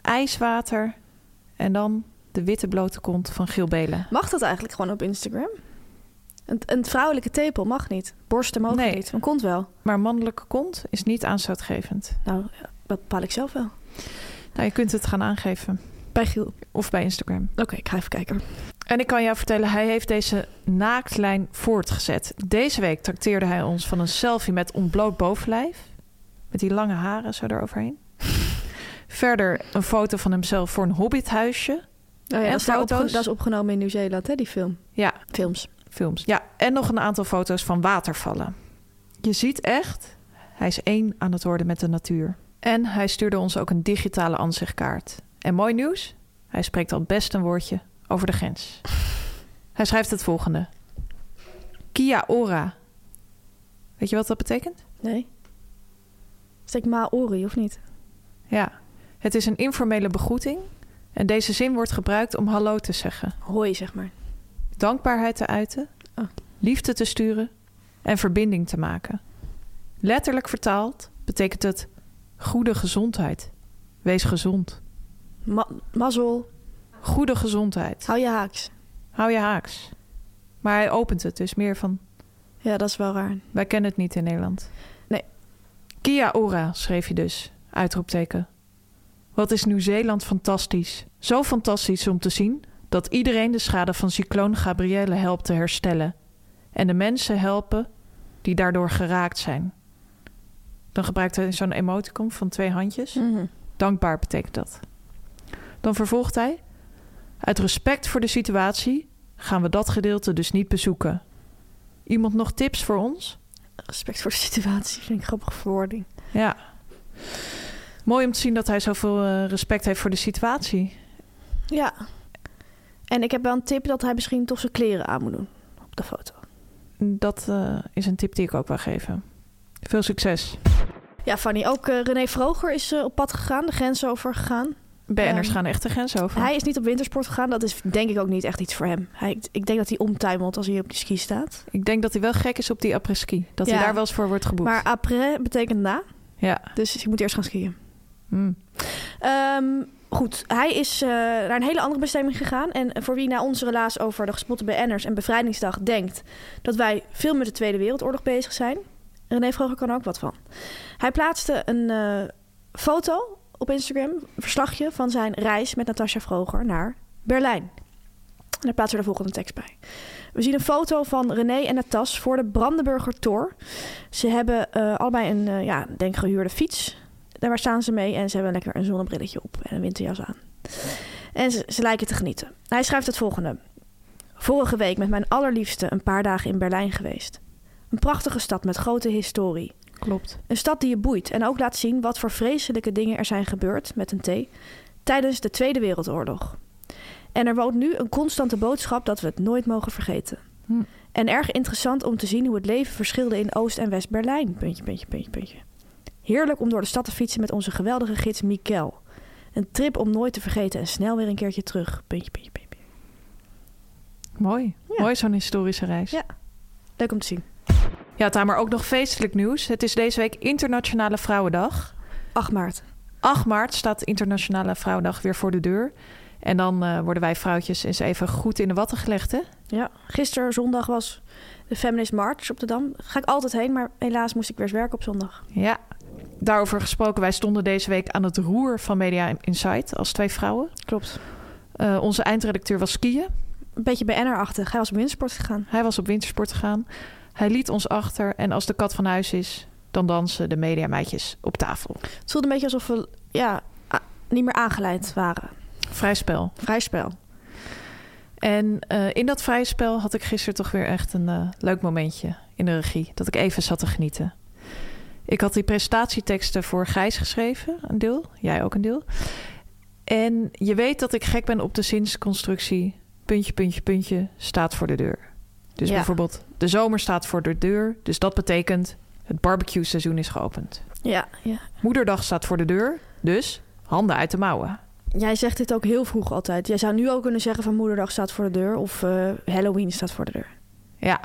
S1: ijswater en dan de witte blote kont van Giel Belen.
S2: Mag dat eigenlijk gewoon op Instagram? Een, een vrouwelijke tepel mag niet. Borsten mogen
S1: Nee.
S2: niet. Een kont wel.
S1: Maar mannelijke kont is niet aanstootgevend.
S2: Nou, Dat bepaal ik zelf wel.
S1: Nou, je kunt het gaan aangeven.
S2: Bij Giel. Oké,
S1: Of bij Instagram.
S2: ik ga even kijken.
S1: En ik kan jou vertellen, hij heeft deze naaktlijn voortgezet. Deze week trakteerde hij ons van een selfie met ontbloot bovenlijf. Met die lange haren zo eroverheen. Verder een foto van hemzelf voor een hobbithuisje.
S2: Oh ja,
S1: En
S2: dat, is daar opge-
S1: foto's?
S2: dat is opgenomen in Nieuw-Zeeland, hè, die film.
S1: Ja,
S2: Films.
S1: films. Ja, en nog een aantal foto's van watervallen. Je ziet echt, hij is één aan het worden met de natuur. En hij stuurde ons ook een digitale ansichtkaart. En mooi nieuws, hij spreekt al best een woordje over de grens. Hij schrijft het volgende. Kia ora. Weet je wat dat betekent?
S2: Nee. Is ik Maori, of niet?
S1: Ja, het is een informele begroeting. En deze zin wordt gebruikt om hallo te zeggen.
S2: Hoi, zeg maar.
S1: dankbaarheid te uiten,
S2: Oh.
S1: liefde te sturen en verbinding te maken. Letterlijk vertaald betekent het goede gezondheid. Wees gezond.
S2: Ma- mazzel.
S1: Goede gezondheid.
S2: Hou je haaks.
S1: Hou je haaks. Maar hij opent het dus meer van
S2: Ja, dat is wel raar.
S1: wij kennen het niet in Nederland.
S2: Nee.
S1: Kia ora schreef je dus. Uitroepteken. Wat is Nieuw-Zeeland fantastisch. Zo fantastisch om te zien dat iedereen de schade van cycloon Gabrielle helpt te herstellen. En de mensen helpen die daardoor geraakt zijn. Dan gebruikt hij zo'n emoticon van twee handjes.
S2: Mhm.
S1: Dankbaar betekent dat. Dan vervolgt hij: Uit respect voor de situatie gaan we dat gedeelte dus niet bezoeken. Iemand nog tips voor ons?
S2: Respect voor de situatie vind ik grappige verwoording.
S1: Ja. Mooi om te zien dat hij zoveel eh, respect heeft voor de situatie.
S2: Ja. En ik heb wel een tip dat hij misschien toch zijn kleren aan moet doen. Op de foto.
S1: Dat eh, is een tip die ik ook wil geven. Veel succes.
S2: Ja, Fanny. Ook eh, René Vroger is eh, op pad gegaan. De grens over gegaan.
S1: BN'ers
S2: Ehm,
S1: gaan echt de grens over.
S2: Hij is niet op wintersport gegaan. Dat is denk ik ook niet echt iets voor hem. Hij, ik denk dat hij omtuimelt als hij op die ski staat.
S1: Ik denk dat hij wel gek is op die après-ski. Dat
S2: Ja.
S1: hij daar wel eens voor wordt geboekt.
S2: Maar après betekent na.
S1: Ja.
S2: Dus je moet eerst gaan skiën.
S1: Hm.
S2: Ehm, goed, hij is eh, naar een hele andere bestemming gegaan. En voor wie na onze relaas over de gespotte BN'ers en Bevrijdingsdag denkt... dat wij veel met de Tweede Wereldoorlog bezig zijn... René Vroger kan er ook wat van. Hij plaatste een eh, foto op Instagram, een verslagje van zijn reis met Natasja Vroger naar Berlijn. En daar plaatsen we de volgende tekst bij. We zien een foto van René en Natas voor de Brandenburger Tor. Ze hebben eh, allebei een, eh, ja, denk gehuurde fiets. Daar waar staan ze mee en ze hebben lekker een zonnebrilletje op en een winterjas aan. En ze, ze lijken te genieten. Hij schrijft het volgende. Vorige week met mijn allerliefste een paar dagen in Berlijn geweest. Een prachtige stad met grote historie.
S1: Klopt.
S2: Een stad die je boeit en ook laat zien wat voor vreselijke dingen er zijn gebeurd met een T tijdens de Tweede Wereldoorlog. En er woont nu een constante boodschap dat we het nooit mogen vergeten.
S1: Hm.
S2: En erg interessant om te zien hoe het leven verschilde in Oost- en West-Berlijn. Puntje, puntje, puntje, puntje. Heerlijk om door de stad te fietsen met onze geweldige gids Mikel. Een trip om nooit te vergeten en snel weer een keertje terug. Puntje, puntje, puntje. puntje.
S1: Mooi.
S2: Ja.
S1: Mooi zo'n historische reis.
S2: Ja. Leuk om te zien.
S1: ja, Tamer, ook nog feestelijk nieuws. Het is deze week Internationale Vrouwendag.
S2: 8 maart.
S1: 8 maart staat Internationale Vrouwendag weer voor de deur. En dan eh, worden wij vrouwtjes eens even goed in de watten gelegd, hè?
S2: Ja, gisteren zondag was de Feminist March op de Dam. Daar Ga ik altijd heen, maar helaas moest ik weer eens werken op zondag.
S1: Ja. Daarover gesproken, wij stonden deze week aan het roer van Media Insight als twee vrouwen.
S2: Klopt.
S1: Eh, onze eindredacteur was skiën.
S2: Een beetje BN'er-achtig. Hij was op wintersport gegaan.
S1: Hij was op wintersport gegaan. Hij liet ons achter. En als de kat van huis is, dan dansen de mediameidjes op tafel.
S2: Het voelde een beetje alsof we ja, a- niet meer aangeleid waren.
S1: Vrij spel.
S2: Vrij spel.
S1: En eh, in dat vrije spel had ik gisteren toch weer echt een eh, leuk momentje in de regie. Dat ik even zat te genieten. Ik had die presentatieteksten voor Gijs geschreven, een deel. Jij ook een deel. En je weet dat ik gek ben op de zinsconstructie. Puntje, puntje, puntje staat voor de deur. Dus
S2: Ja.
S1: bijvoorbeeld, de zomer staat voor de deur. Dus dat betekent, het barbecue seizoen is geopend.
S2: Ja, ja.
S1: Moederdag staat voor de deur. Dus handen uit de mouwen.
S2: Jij zegt dit ook heel vroeg altijd. Jij zou nu ook kunnen zeggen van moederdag staat voor de deur of eh, Halloween staat voor de deur.
S1: Ja,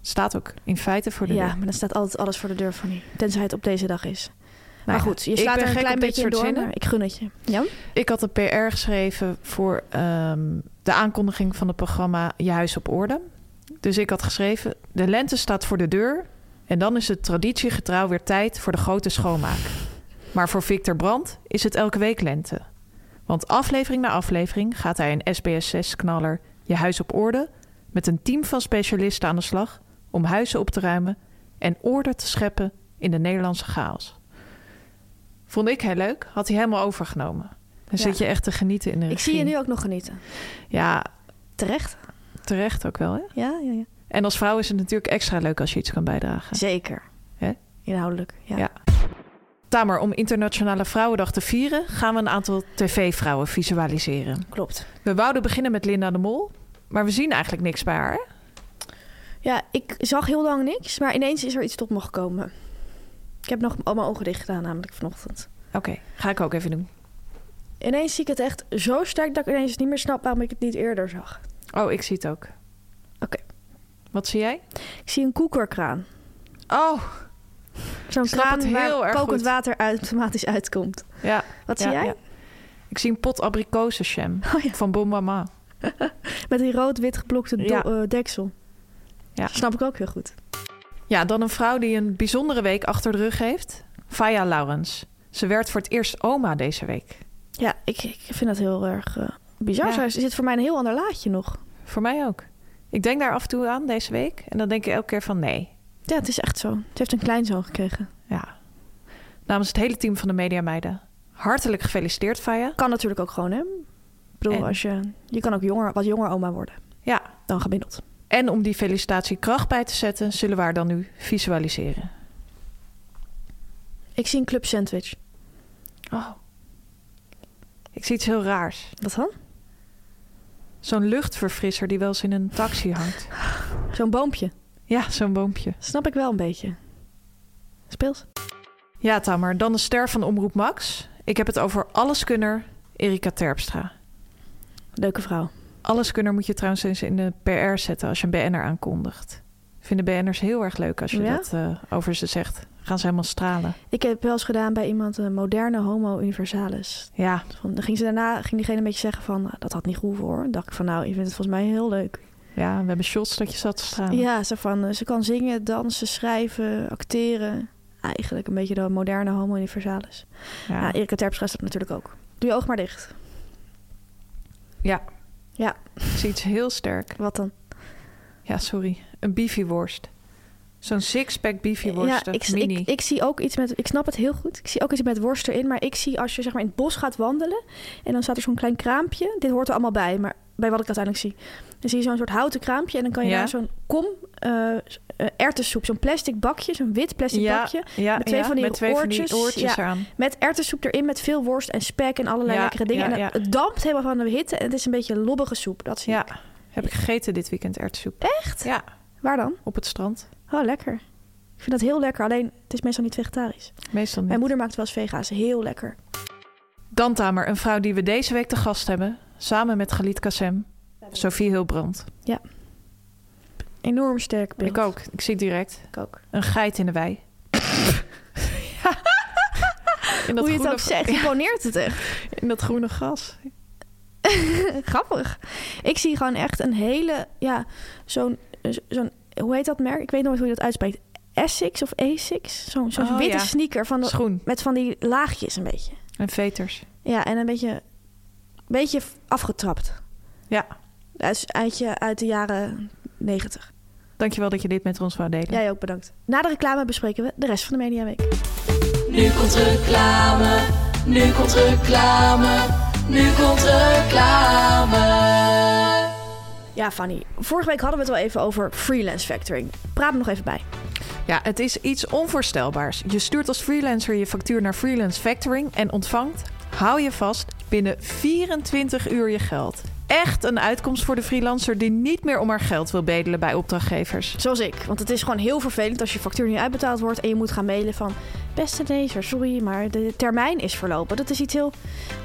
S1: staat ook in feite voor de
S2: ja,
S1: deur.
S2: maar dan staat altijd alles voor de deur van nu. Tenzij het op deze dag is. maar
S1: Nou ja,
S2: goed, je
S1: ik
S2: slaat
S1: ben
S2: er een
S1: gek
S2: klein
S1: op dit
S2: beetje in
S1: soort
S2: door,
S1: zinnen.
S2: maar ik gun het je. Ja?
S1: Ik had een PR geschreven voor ehm, de aankondiging van het programma Je Huis op Orde. Dus ik had geschreven: De lente staat voor de deur. En dan is het traditiegetrouw weer tijd voor de grote schoonmaak. Maar voor Victor Brand is het elke week lente. Want aflevering na aflevering gaat hij een SBS6-knaller je huis op orde met een team van specialisten aan de slag om huizen op te ruimen en orde te scheppen in de Nederlandse chaos. Vond ik heel leuk, had hij helemaal overgenomen. Dan
S2: Ja.
S1: zit je echt te genieten in de
S2: Ik
S1: regie.
S2: zie je nu ook nog genieten.
S1: Ja,
S2: Terecht?
S1: terecht ook wel, hè?
S2: Ja, ja, ja.
S1: En als vrouw is het natuurlijk extra leuk als je iets kan bijdragen.
S2: Zeker.
S1: Hè?
S2: Inhoudelijk, ja.
S1: Ja. Tamer, om Internationale Vrouwendag te vieren... gaan we een aantal tv-vrouwen visualiseren.
S2: Klopt.
S1: We wouden beginnen met Linda de Mol... maar we zien eigenlijk niks bij haar. hè?
S2: Ja, ik zag heel lang niks, maar ineens is er iets tot me gekomen. Ik heb nog al mijn ogen dicht gedaan, namelijk vanochtend.
S1: Oké, ga ik ook even doen.
S2: Ineens zie ik het echt zo sterk dat ik ineens niet meer snap waarom ik het niet eerder zag.
S1: Oh, ik zie het ook.
S2: Oké.
S1: Wat zie jij?
S2: Ik zie een koekerkraan.
S1: Oh,
S2: Zo'n
S1: Ik snap
S2: kraan
S1: het heel
S2: waar
S1: erg
S2: kokend
S1: goed.
S2: water uit- automatisch uitkomt.
S1: ja.
S2: Wat zie
S1: ja,
S2: jij?
S1: ja. Ik zie een pot abrikozensham
S2: Oh ja,
S1: van Bon Mama.
S2: met die rood-wit geblokte do-
S1: Ja.
S2: eh, deksel.
S1: Ja.
S2: Snap ik ook heel goed.
S1: Ja, dan een vrouw die een bijzondere week achter de rug heeft. Faya Laurens. Ze werd voor het eerst oma deze week.
S2: Ja, ik, ik vind dat heel erg eh, bizar.
S1: Ja.
S2: Zij zit voor mij een heel ander laadje nog.
S1: Voor mij ook. Ik denk daar af en toe aan deze week. En dan denk ik elke keer van nee.
S2: Ja, het is echt zo. Ze heeft een kleinzoon gekregen.
S1: Ja. Namens het hele team van de Media Meiden. Hartelijk gefeliciteerd, Faya.
S2: Kan natuurlijk ook gewoon, hè? Ik bedoel,
S1: En?
S2: als je, je kan ook jonger, wat jonger oma worden
S1: Ja.
S2: dan gemiddeld.
S1: En om die felicitatie kracht bij te zetten, zullen we haar dan nu visualiseren.
S2: Ik zie een club sandwich.
S1: Oh. Ik zie iets heel raars.
S2: Wat dan?
S1: Zo'n luchtverfrisser die wel eens in een taxi hangt.
S2: Zo'n boompje.
S1: Ja, zo'n boompje.
S2: Snap ik wel een beetje. Speels.
S1: Ja, Tamer. Dan de ster van Omroep Max. Ik heb het over alleskunner Erika Terpstra.
S2: Leuke vrouw.
S1: Alleskunner moet je trouwens eens in de PR zetten als je een BN'er aankondigt. Vinden BN'ers heel erg leuk als je
S2: Ja?
S1: dat eh, over ze zegt. Gaan ze helemaal stralen.
S2: Ik heb wel eens gedaan bij iemand een moderne homo universalis.
S1: Ja,
S2: Van, dan ging ze daarna, ging diegene een beetje zeggen van, "Nou, dat had niet gehoeven hoor. Dan dacht ik van, nou, ik vind het volgens mij heel leuk.
S1: ja we hebben shots dat je zat te stralen.
S2: Ja, zo van, eh, ze kan zingen, dansen, schrijven, acteren. Eigenlijk een beetje de moderne homo universalis.
S1: Ja.
S2: Ja, Erika Terpstra is dat natuurlijk ook. Doe je oog maar dicht.
S1: Ja.
S2: Ja.
S1: Ik zie iets heel sterk.
S2: Wat dan?
S1: Ja, sorry. Een beefyworst. Zo'n six-pack
S2: Ja,
S1: beefyworst.
S2: ik,
S1: mini.
S2: ik, ik zie ook iets met. Ik snap het heel goed. Ik zie ook iets met worst erin. Maar ik zie als je zeg maar in het bos gaat wandelen. En dan staat er zo'n klein kraampje. Dit hoort er allemaal bij, maar bij wat ik uiteindelijk zie. Dan zie je zo'n soort houten kraampje. En dan kan je
S1: Ja.
S2: daar zo'n kom eh eh, erwtensoep. Zo'n plastic bakje. Zo'n wit plastic
S1: ja,
S2: bakje.
S1: ja,
S2: met twee
S1: ja,
S2: van die
S1: met twee van die
S2: oortjes,
S1: oortjes
S2: ja.
S1: eraan.
S2: Met erwtensoep erin. Met veel worst en spek en allerlei
S1: Ja,
S2: lekkere dingen.
S1: ja,
S2: en dan-
S1: ja.
S2: het dampt helemaal van de hitte. En het is een beetje lobbige soep. Dat zie
S1: Ja.
S2: ik.
S1: Heb ik gegeten dit weekend erwtsoep.
S2: Echt?
S1: Ja,
S2: Waar dan?
S1: op het strand.
S2: Oh, lekker. Ik vind dat heel lekker. Alleen het is meestal niet vegetarisch.
S1: Meestal niet.
S2: Mijn moeder maakt wel eens vega's. Heel lekker.
S1: Dan Tamer, een vrouw die we deze week te gast hebben. Samen met Galit Kassem. Sophie Hilbrand.
S2: Enorm sterk beeld.
S1: Ik ook. Ik zie het direct.
S2: Ik ook.
S1: Een geit in de wei. Ja. in, dat
S2: Hoe je het
S1: groene,
S2: ook zegt, imponeert het echt.
S1: in dat groene gras.
S2: Grappig. Ik zie gewoon echt een hele, ja, zo'n, zo'n, hoe heet dat merk? Ik weet nooit hoe je dat uitspreekt. Essex of Asics? Zo'n zo'n
S1: Oh,
S2: witte
S1: ja.
S2: sneaker van de,
S1: Schoen
S2: met van die laagjes een beetje.
S1: en veters.
S2: Ja, en een beetje, beetje afgetrapt.
S1: Ja.
S2: Uit, uit, je- uit de jaren negentig.
S1: Dankjewel dat je dit met ons wou delen.
S2: Jij ook bedankt. Na de reclame bespreken we de rest van de Mediaweek.
S3: Nu komt reclame, nu komt reclame, nu komt reclame.
S2: Ja, Fanny. Vorige week hadden we het al even over freelance factoring. Praat me nog even bij.
S1: Ja, het is iets onvoorstelbaars. Je stuurt als freelancer je factuur naar Freelance Factoring en ontvangt, hou je vast, binnen 24 uur je geld. Echt een uitkomst voor de freelancer die niet meer om haar geld wil bedelen bij opdrachtgevers.
S2: Zoals ik. Want het is gewoon heel vervelend als je factuur niet uitbetaald wordt en je moet gaan mailen van... Beste lezer, sorry, maar de termijn is verlopen. Dat is iets heel,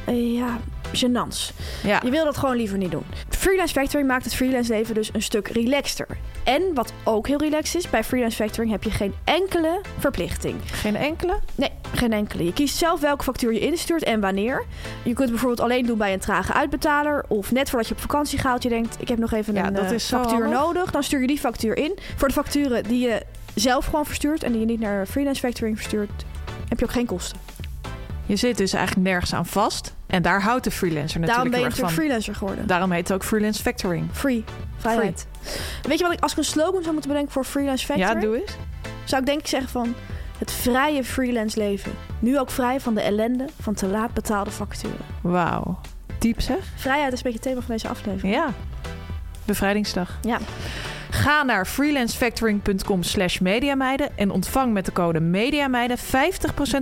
S2: eh, ja, gênants.
S1: Ja,
S2: Je wil dat gewoon liever niet doen. Freelance Factoring maakt het freelance leven dus een stuk relaxter. En wat ook heel relaxed is, bij Freelance Factoring heb je geen enkele verplichting.
S1: geen enkele?
S2: Nee, geen enkele. Je kiest zelf welke factuur je instuurt en wanneer. Je kunt het bijvoorbeeld alleen doen bij een trage uitbetaler. Of net voordat je op vakantie gaat, je denkt: ik heb nog even
S1: Ja,
S2: een
S1: dat
S2: eh,
S1: is zo
S2: factuur
S1: handig.
S2: nodig. Dan stuur je die factuur in. Voor de facturen die je zelf gewoon verstuurt en die je niet naar freelance factoring verstuurt, heb je ook geen kosten.
S1: Je zit dus eigenlijk nergens aan vast. En daar houdt de freelancer
S2: Daarom
S1: natuurlijk
S2: ben je
S1: heel erg van.
S2: natuurlijk freelancer geworden.
S1: Daarom heet het ook freelance factoring.
S2: Free. Vrijheid. Weet je wat ik als ik een slogan zou moeten bedenken voor freelance factor?
S1: Ja, doe eens.
S2: Zou ik denk ik zeggen van het vrije freelance leven. Nu ook vrij van de ellende van te laat betaalde facturen.
S1: Wauw. Diep zeg?
S2: Vrijheid is een beetje het thema van deze aflevering.
S1: Ja. Bevrijdingsdag.
S2: Ja.
S1: Ga naar freelancefactoring.com slash mediameiden en ontvang met de code mediameiden 50%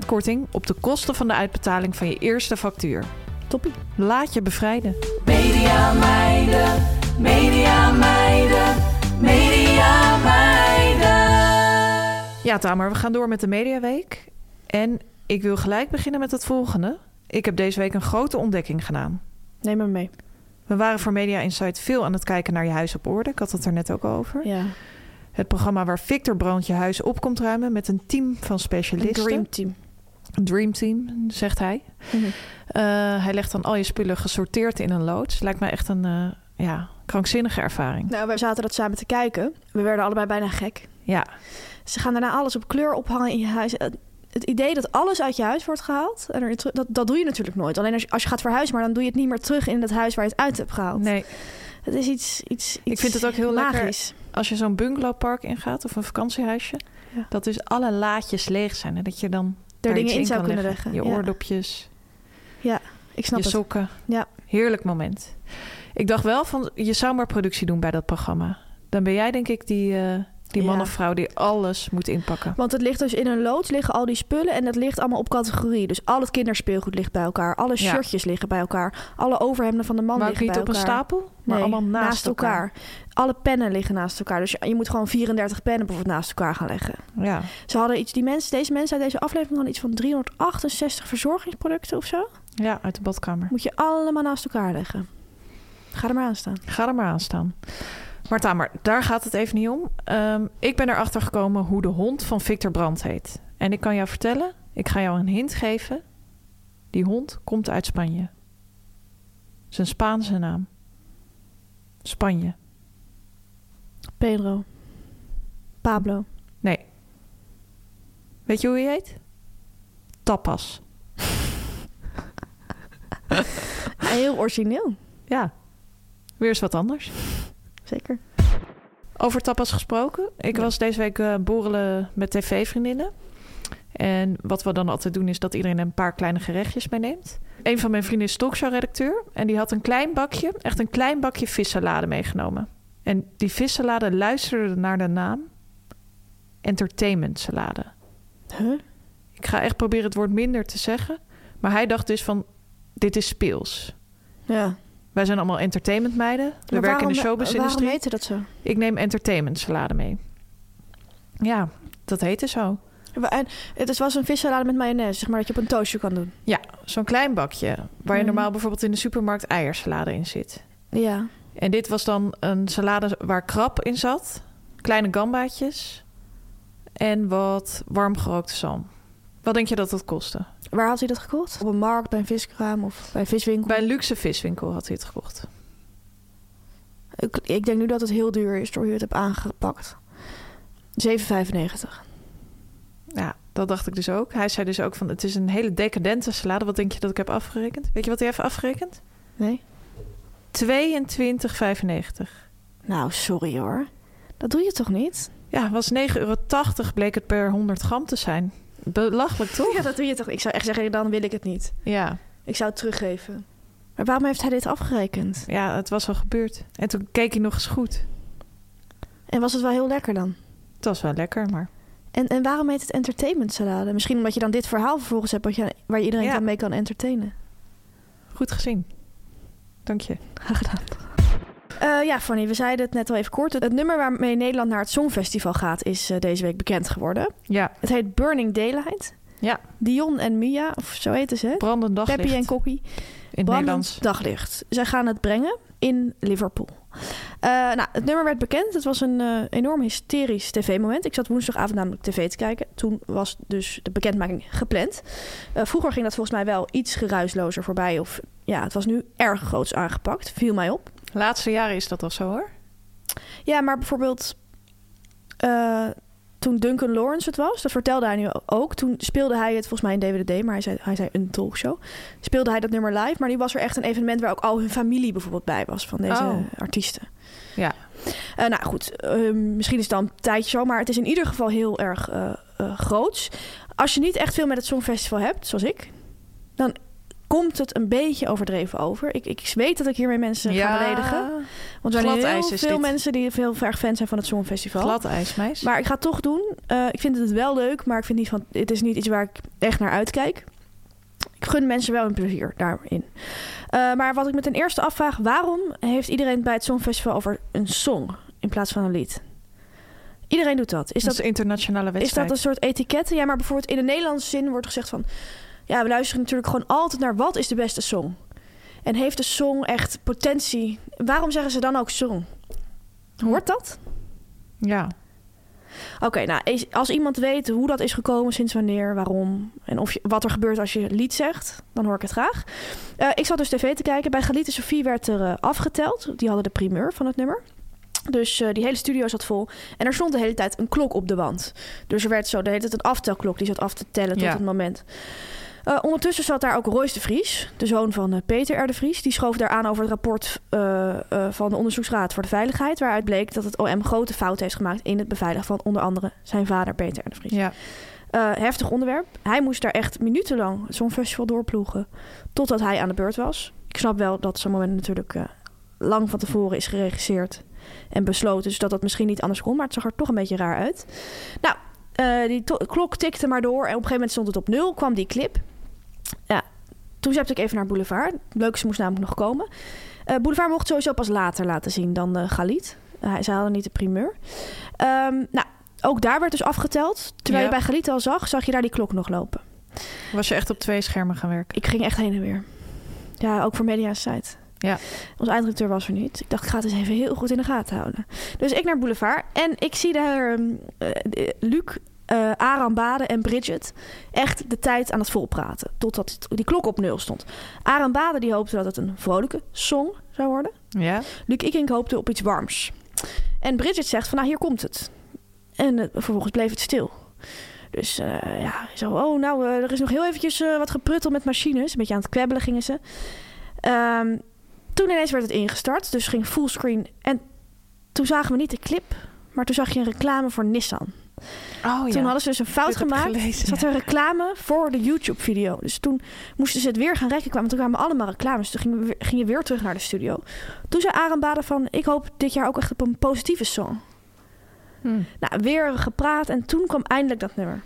S1: korting op de kosten van de uitbetaling van je eerste factuur.
S2: Toppie.
S1: Laat je bevrijden.
S3: Media meiden, media meiden, media meiden.
S1: Ja, Tamer, we gaan door met de Mediaweek. En ik wil gelijk beginnen met het volgende. Ik heb deze week een grote ontdekking gedaan.
S2: Neem me mee.
S1: We waren voor Media Insight veel aan het kijken naar je huis op orde. Ik had het er net ook over.
S2: Ja.
S1: Het programma waar Victor Brandt je huis op komt ruimen met een team van
S2: Een
S1: specialisten.
S2: dream team.
S1: Een dream team, zegt hij.
S2: Mhm.
S1: Eh, hij legt dan al je spullen gesorteerd in een loods. Lijkt mij echt een eh, ja, krankzinnige ervaring.
S2: Nou, we zaten dat samen te kijken. We werden allebei bijna gek.
S1: Ja,
S2: Ze gaan daarna alles op kleur ophangen in je huis. Het- Het idee dat alles uit je huis wordt gehaald, en erin terug- dat, dat doe je natuurlijk nooit. Alleen als je, als je gaat verhuizen, maar dan doe je het niet meer terug in dat huis waar je het uit hebt gehaald.
S1: nee.
S2: Het is iets, iets, iets
S1: vind het ook heel lekker.
S2: magisch.
S1: als je zo'n bungalowpark ingaat of een vakantiehuisje,
S2: Ja.
S1: dat dus alle laadjes leeg zijn en dat je dan
S2: Er
S1: daar
S2: dingen
S1: iets
S2: in zou
S1: kan
S2: kunnen leggen.
S1: leggen. Je
S2: Ja.
S1: oordopjes,
S2: Ik snap
S1: je
S2: het.
S1: sokken.
S2: Ja.
S1: Heerlijk moment. Ik dacht wel van, je zou maar productie doen bij dat programma. Dan ben jij denk ik die, eh, die man
S2: Ja.
S1: of vrouw die alles moet inpakken.
S2: Want het ligt dus in een loods, liggen al die spullen en dat ligt allemaal op categorie. Dus al het kinderspeelgoed ligt bij elkaar, alle
S1: Ja.
S2: shirtjes liggen bij elkaar, alle overhemden van de man
S1: maar ook
S2: liggen
S1: niet
S2: bij
S1: op een
S2: elkaar.
S1: stapel, maar
S2: Nee,
S1: allemaal naast, elkaar.
S2: Alle pennen liggen naast elkaar. Dus je, je moet gewoon 34 pennen bijvoorbeeld naast elkaar gaan leggen.
S1: Ja.
S2: Ze hadden iets, die mensen, deze mensen uit deze aflevering hadden iets van 368 verzorgingsproducten of zo.
S1: ja, uit de badkamer.
S2: Moet je allemaal naast elkaar leggen. Ga er maar aan staan.
S1: Ga er maar aan staan. Maar Tamer, daar gaat het even niet om. Ehm, ik ben erachter gekomen hoe de hond van Victor Brandt heet. En ik kan jou vertellen, ik ga jou een hint geven. Die hond komt uit Spanje. Zijn Spaanse naam. Spanje.
S2: Pedro. Pablo.
S1: Nee. Weet je hoe hij heet? Tapas.
S2: Heel origineel.
S1: Ja. Weer eens wat anders.
S2: Zeker.
S1: Over tapas gesproken. Ik
S2: Ja.
S1: was deze week eh, borrelen met tv-vriendinnen. En wat we dan altijd doen is dat iedereen een paar kleine gerechtjes meeneemt. Een van mijn vrienden is talkshow-redacteur. En die had een klein bakje, echt een klein bakje vissalade meegenomen. En die vissalade luisterde naar de naam entertainment salade.
S2: Huh?
S1: Ik ga echt proberen het woord minder te zeggen. Maar hij dacht dus van, dit is speels.
S2: Ja.
S1: Wij zijn allemaal entertainment meiden. We werken in de showbiz-industrie.
S2: Waarom heette dat zo?
S1: Ik neem entertainment salade mee. Ja, dat heette zo.
S2: Wa- En het is- was een vissalade met mayonaise, zeg maar, dat je op een toastje kan doen.
S1: Ja, zo'n klein bakje. Waar je
S2: Mhm.
S1: normaal bijvoorbeeld in de supermarkt eiersalade in zit.
S2: Ja.
S1: En dit was dan een salade waar krab in zat. Kleine gambaatjes. En wat warm gerookte zalm. Wat denk je dat dat kostte?
S2: Waar had hij dat gekocht? Op een markt, bij een viskraam of bij een viswinkel?
S1: Bij een luxe viswinkel had hij het gekocht.
S2: Ik, ik denk nu dat het heel duur is door hoe je het hebt aangepakt. 7,95.
S1: Ja, dat dacht ik dus ook. Hij zei dus ook van het is een hele decadente salade. Wat denk je dat ik heb afgerekend? Weet je wat hij heeft afgerekend?
S2: Nee?
S1: 22,95.
S2: Nou, sorry hoor. Dat doe je toch niet?
S1: Ja, was 9,80 euro bleek het per 100 gram te zijn. Belachelijk toch?
S2: Ja, dat doe je toch Ik zou echt zeggen, dan wil ik het niet.
S1: Ja,
S2: Ik zou het teruggeven. Maar waarom heeft hij dit afgerekend?
S1: ja, het was al gebeurd. En toen keek hij nog eens goed.
S2: En was het wel heel lekker dan?
S1: Het was wel lekker, maar...
S2: En, en waarom heet het entertainment salade? Misschien omdat je dan dit verhaal vervolgens hebt wat je, waar je iedereen
S1: Ja.
S2: kan mee kan entertainen.
S1: Goed gezien. Dank je.
S2: Graag gedaan. Eh, ja, Fanny, we zeiden het net al even kort. Het, het nummer waarmee Nederland naar het Songfestival gaat is eh, deze week bekend geworden.
S1: Ja,
S2: Het heet Burning Daylight.
S1: Ja.
S2: Dion en Mia, of zo heten ze. hè?
S1: brandend daglicht
S2: Peppy en Kokkie.
S1: in het
S2: Brandend
S1: Nederlands.
S2: Daglicht. Zij gaan het brengen in Liverpool. Eh, nou, het nummer werd bekend. Het was een eh, enorm hysterisch tv-moment. Ik zat woensdagavond namelijk tv te kijken. Toen was dus de bekendmaking gepland. Eh, vroeger ging dat volgens mij wel iets geruislozer voorbij. Of ja, het was nu erg groots aangepakt. Viel mij op.
S1: Laatste jaren is dat al zo, hoor.
S2: Ja, maar bijvoorbeeld eh, toen Duncan Lawrence het was, dat vertelde hij nu ook. Toen speelde hij het volgens mij in DWD, maar hij zei, hij zei een talkshow. Speelde hij dat nummer live, maar nu was er echt een evenement waar ook al hun familie bijvoorbeeld bij was van deze
S1: Oh.
S2: artiesten.
S1: Ja.
S2: Eh, nou goed, eh, misschien is het dan een tijdje zo, maar het is in ieder geval heel erg eh, eh, groots. Als je niet echt veel met het Songfestival hebt, zoals ik, dan komt het een beetje overdreven over. Ik, ik weet dat ik hiermee mensen ga beledigen. Want er zijn
S1: Glad
S2: heel
S1: ijs is
S2: veel
S1: dit.
S2: mensen die heel erg fan zijn van het Songfestival.
S1: Glad ijsmeis.
S2: Maar ik ga het toch doen. Eh, ik vind het wel leuk, maar ik vind niet van, het is niet iets waar ik echt naar uitkijk. Ik gun mensen wel een plezier daarin. Eh, maar wat ik me ten eerste afvraag, waarom heeft iedereen het bij het Songfestival over een song in plaats van een lied? Iedereen doet dat. Is dat
S1: een internationale
S2: is
S1: wedstrijd?
S2: dat een soort etiket? Ja, maar bijvoorbeeld in de Nederlandse zin wordt gezegd van... Ja, we luisteren natuurlijk gewoon altijd naar wat is de beste song. En heeft de song echt potentie? Waarom zeggen ze dan ook song? Hoort dat? dus-
S1: Ja.
S2: Oké, nou, is- als iemand weet hoe dat is gekomen, sinds wanneer, waarom... en of je- wat er gebeurt als je lied zegt, dan hoor ik het graag. Eh, ik zat dus tv te kijken. Bij Galit en Sofie werd er eh, afgeteld. Die hadden de primeur van het nummer. Dus eh, die hele studio zat vol. En er stond de hele tijd een klok op de wand. Dus er werd zo de hele tijd een aftelklok. Die zat af te tellen tot
S1: Ja.
S2: het moment. Eh, ondertussen zat daar ook Royce de Vries, de zoon van eh, Peter R. de Vries. Die schoof daaraan over het rapport eh, eh, van de Onderzoeksraad voor de Veiligheid. Waaruit bleek dat het OM grote fouten heeft gemaakt in het beveiligen van onder andere zijn vader Peter R. de Vries.
S1: ja.
S2: Eh, heftig onderwerp. Hij moest daar echt minutenlang zo'n festival doorploegen. Totdat hij aan de beurt was. Ik snap wel dat zo'n moment natuurlijk eh, lang van tevoren is geregisseerd en besloten. Dus dat dat misschien niet anders kon. Maar het zag er toch een beetje raar uit. Nou, eh, die to- klok tikte maar door. En op een gegeven moment stond het op nul. Kwam die clip. Ja, toen zette ik even naar Boulevard. Leuk, ze moest namelijk nog komen. Eh, Boulevard mocht sowieso pas later laten zien dan eh Galit. Hij ze hadden niet de primeur. Ehm, nou, ook daar werd dus afgeteld. Terwijl
S1: Ja.
S2: je bij Galit al zag, zag je daar die klok nog lopen.
S1: Was je echt op twee schermen gaan werken?
S2: Ik ging echt heen en weer. Ja, ook voor Media's site.
S1: Ja.
S2: Ons eindredacteur was er niet. Ik dacht, ik ga het eens even heel goed in de gaten houden. Dus ik naar Boulevard en ik zie daar ehm, eh, eh, Luc, eh Aram Bade en Bridget echt de tijd aan het volpraten. Totdat het- die klok op nul stond. Aram Bade die hoopte dat het een vrolijke song zou worden.
S1: Ja.
S2: Luc Ikink hoopte op iets warms. En Bridget zegt van, nou, hier komt het. En eh, vervolgens bleef het stil. Dus eh, ja, zo, oh, nou, eh, er is nog heel eventjes eh, wat gepruttel met machines. Een beetje aan het kwebbelen gingen ze. Ehm, toen ineens werd het ingestart, dus ging fullscreen. En toen zagen we niet de clip, maar toen zag je een reclame voor Nissan.
S1: Oh ja.
S2: Toen hadden ze dus een fout
S1: Dit heb ik
S2: gemaakt.
S1: gelezen,
S2: zat
S1: ja.
S2: er reclame voor de YouTube-video. Dus toen moesten ze het weer gaan rekken. Kwamen, toen kwamen allemaal reclames. Toen ging, ging je weer terug naar de studio. Toen zei Aaron Baden van... ik hoop dit jaar ook echt op een positieve song.
S1: Hm.
S2: Nou, weer gepraat. En toen kwam eindelijk dat nummer.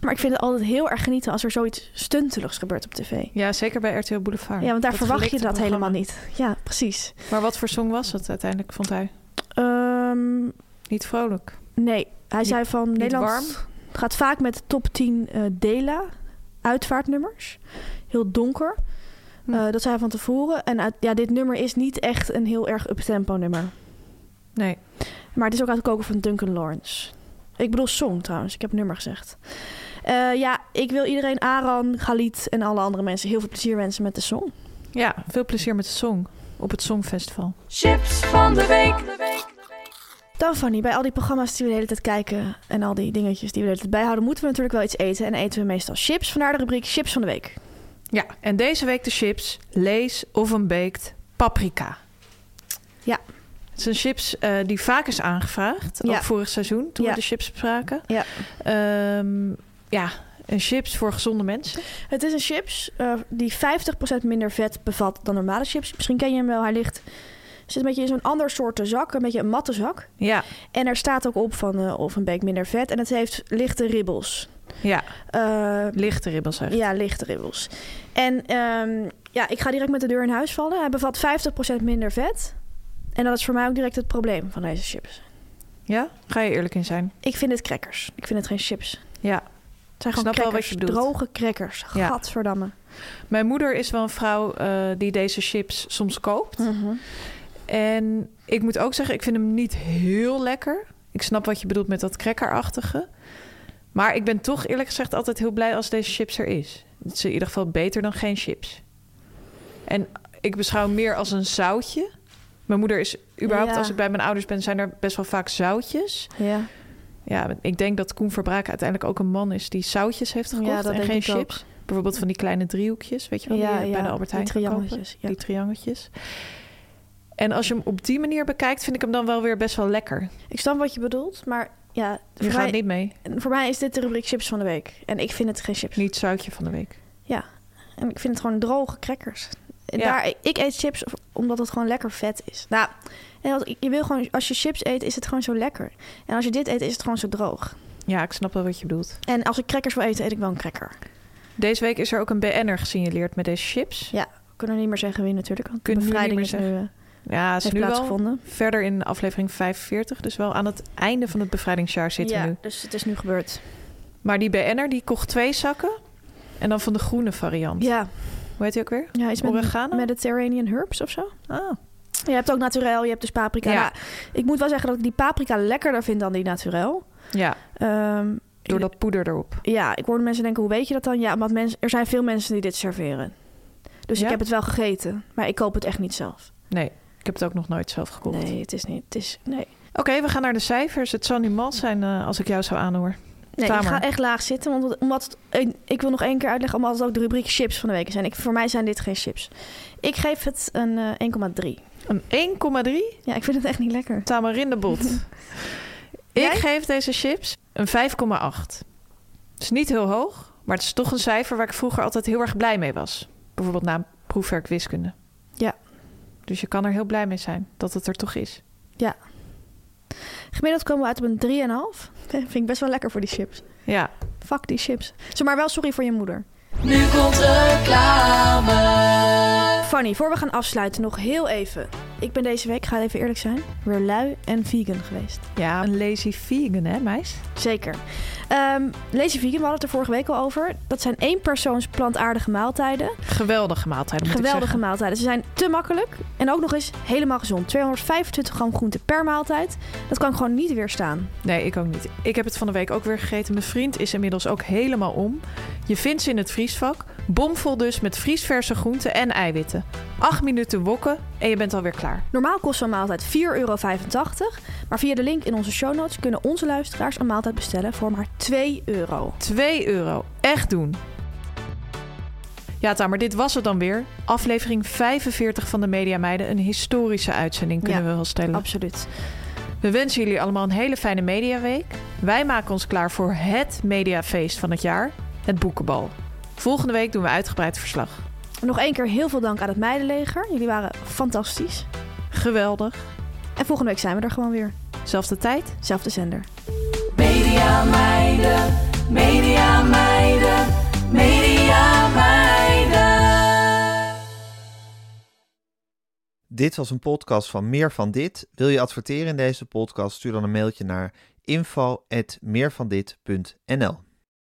S2: Maar ik vind het altijd heel erg genieten... als er zoiets stunteligs gebeurt op tv.
S1: Ja, zeker bij RTL Boulevard.
S2: Ja, want daar
S1: Dat
S2: verwacht je
S1: gelikte
S2: dat
S1: programma.
S2: helemaal niet. Ja, precies.
S1: Maar wat voor song was het uiteindelijk, vond hij?
S2: Ehm,
S1: Niet vrolijk.
S2: nee, hij zei van... Nederland
S1: warm?
S2: gaat vaak met de top 10 eh, Dela uitvaartnummers. Heel donker.
S1: Hm.
S2: Eh, dat zei hij van tevoren. En uit- ja, dit nummer is niet echt een heel erg up-tempo nummer.
S1: Nee.
S2: Maar het is ook uit de koker van Duncan Lawrence. Ik bedoel song trouwens, ik heb nummer gezegd. Eh, ja, ik wil iedereen, Aran, Galit en alle andere mensen heel veel plezier wensen met de song.
S1: Ja, veel plezier met de song. Op het Songfestival.
S3: Chips van de week.
S2: Dan Fanny, bij al die programma's die we de hele tijd kijken en al die dingetjes die we de hele tijd bijhouden, moeten we natuurlijk wel iets eten. En eten we meestal chips, vandaar de rubriek Chips van de Week.
S1: Ja, en deze week de chips. Lees of een baked paprika.
S2: Ja.
S1: Het is een chips eh, die vaak is aangevraagd.
S2: Ja.
S1: Ook vorig seizoen, toen
S2: Ja.
S1: we de chips bespraken.
S2: Ja.
S1: Ehm, ja, een chips voor gezonde mensen.
S2: Het is een chips eh, die 50% minder vet bevat dan normale chips. Misschien ken je hem wel, hij ligt... Zit een beetje in zo'n ander soort zak, een beetje een matte zak.
S1: Ja,
S2: En er staat ook op van eh, of een beek minder vet. En het heeft lichte ribbels.
S1: ja.
S2: Eh,
S1: lichte ribbels echt.
S2: ja, lichte ribbels. En ehm, ja, ik ga direct met de deur in huis vallen. Hij bevat 50% minder vet. En dat is voor mij ook direct het probleem van deze chips.
S1: Ja? Ga je eerlijk in zijn.
S2: Ik vind het crackers. Ik vind het geen chips.
S1: Ja.
S2: Het zijn
S1: Ik
S2: gewoon
S1: snap wel
S2: crackers.
S1: wat je bedoelt.
S2: Droge crackers.
S1: Ja.
S2: Gadverdamme.
S1: Mijn moeder is wel een vrouw eh, die deze chips soms koopt.
S2: Hm.
S1: En ik moet ook zeggen, ik vind hem niet heel lekker. Ik snap wat je bedoelt met dat crackerachtige. Maar ik ben toch eerlijk gezegd altijd heel blij als deze chips er is. Het is in ieder geval beter dan geen chips. En ik beschouw hem meer als een zoutje. Mijn moeder is überhaupt,
S2: Ja.
S1: als ik bij mijn ouders ben, zijn er best wel vaak zoutjes.
S2: Ja.
S1: Ja, ik denk dat Koen Verbraak uiteindelijk ook een man is die zoutjes heeft gekocht
S2: Ja, dat
S1: en
S2: denk
S1: geen
S2: ik ook.
S1: chips. Bijvoorbeeld van die kleine driehoekjes, weet je wel, die je bij de Albert Heijn kan
S2: die
S1: kopen.
S2: triangeltjes. Ja.
S1: Die triangeltjes. En als je hem op die manier bekijkt, vind ik hem dan wel weer best wel lekker.
S2: Ik snap wat je bedoelt, maar ja,
S1: Je
S2: voor
S1: gaat
S2: mij,
S1: niet mee.
S2: voor mij is dit de rubriek chips van de week. En ik vind het geen chips.
S1: Niet zoutje van de week.
S2: En ik vind het gewoon droge crackers. En
S1: Ja.
S2: Daar, ik eet chips omdat het gewoon lekker vet is. Nou, en als, je wil gewoon, als je chips eet, is het gewoon zo lekker. En als je dit eet, is het gewoon zo droog.
S1: Ja, ik snap wel wat je bedoelt.
S2: En als ik crackers wil eten, eet ik wel een cracker.
S1: Deze week is er ook een BN'er gesignaleerd met deze chips.
S2: We kunnen niet meer zeggen wie natuurlijk, want de
S1: Kunnen we nu
S2: bevrijding
S1: niet
S2: is
S1: meer
S2: nu, eh,
S1: Ja, is
S2: heeft
S1: nu wel
S2: plaatsgevonden.
S1: verder in aflevering 45. Dus wel aan het einde van het bevrijdingsjaar zitten
S2: ja,
S1: we nu.
S2: dus het is nu gebeurd.
S1: Maar die BN'er die kocht twee zakken. En dan van de groene variant.
S2: Ja,
S1: Hoe heet die ook weer?
S2: ja iets met
S1: Oregano?
S2: Mediterranean herbs of zo.
S1: Ah,
S2: Je hebt ook naturel, je hebt dus paprika.
S1: Ja.
S2: Nou, ik moet wel zeggen dat ik die paprika lekkerder vind dan die naturel.
S1: ja,
S2: Ehm,
S1: door dat poeder erop.
S2: Ja, ik hoorde mensen denken, hoe weet je dat dan? Ja, want mensen, er zijn veel mensen die dit serveren. Dus
S1: Ja?
S2: ik heb het wel gegeten, maar ik koop het echt niet zelf.
S1: Nee, ik heb het ook nog nooit zelf gekocht.
S2: Nee, het is niet. Het is, nee.
S1: Oké, we gaan naar de cijfers. Het zou niet mal zijn eh, als ik jou zou aanhoor.
S2: nee ik
S1: Tamer.
S2: ga echt laag zitten, want het- omdat het- en ik wil nog één keer uitleggen omdat het ook de rubriek chips van de week zijn. Ik, voor mij zijn dit geen chips. Ik geef het een eh, 1,3.
S1: Een 1,3
S2: Ja, ik vind het echt niet lekker.
S1: tamarindebot. ik
S2: Jij?
S1: geef deze chips een 5,8. Het is niet heel hoog, maar het is toch een cijfer waar ik vroeger altijd heel erg blij mee was. Bijvoorbeeld na een proefwerk wiskunde.
S2: Ja.
S1: Dus je kan er heel blij mee zijn dat het er toch is.
S2: Gemiddeld komen we uit op een 3,5. Vind ik best wel lekker voor die chips.
S1: Ja,
S2: Fuck die chips. Zeg maar wel sorry voor je moeder.
S3: Nu komt reclame.
S2: Fanny, voor we gaan afsluiten nog heel even. Ik ben deze week, ga even eerlijk zijn, weer lui en vegan geweest.
S1: ja een lazy vegan hè meis?
S2: Zeker. Ehm Lazy Vegan, we hadden het er vorige week al over. Dat zijn één persoons plantaardige maaltijden.
S1: Geweldige maaltijd moet ik
S2: Geweldige
S1: zeggen.
S2: maaltijden. Ze zijn te makkelijk en ook nog eens helemaal gezond. 225 gram groente per maaltijd. Dat kan ik gewoon niet weerstaan.
S1: Nee, ik ook niet. Ik heb het van de week ook weer gegeten. Mijn vriend is inmiddels ook helemaal om. Je vindt ze in het vriesvak. Bomvol dus met vriesverse groenten en eiwitten. Acht minuten wokken en je bent alweer klaar.
S2: Normaal kost zo'n maaltijd 4,85 euro. Maar via de link in onze show notes kunnen onze luisteraars een maaltijd bestellen voor maar 2 euro.
S1: 2 euro. Echt doen. Ja, Tamer, dit was het dan weer. Aflevering 45 van de Media Meiden. Een historische uitzending, kunnen
S2: Ja,
S1: we wel stellen.
S2: Absoluut.
S1: We wensen jullie allemaal een hele fijne mediaweek. Wij maken ons klaar voor het mediafeest van het jaar. Het boekenbal. Volgende week doen we uitgebreid verslag.
S2: Nog één keer heel veel dank aan het Meidenleger. Jullie waren fantastisch.
S1: Geweldig.
S2: En volgende week zijn we er gewoon weer.
S1: Zelfde tijd?
S2: Zelfde zender.
S3: Media meiden, media meiden, media meiden.
S4: Dit was een podcast van Meer van Dit. Wil je adverteren in deze podcast? Stuur dan een mailtje naar info.meervandit.nl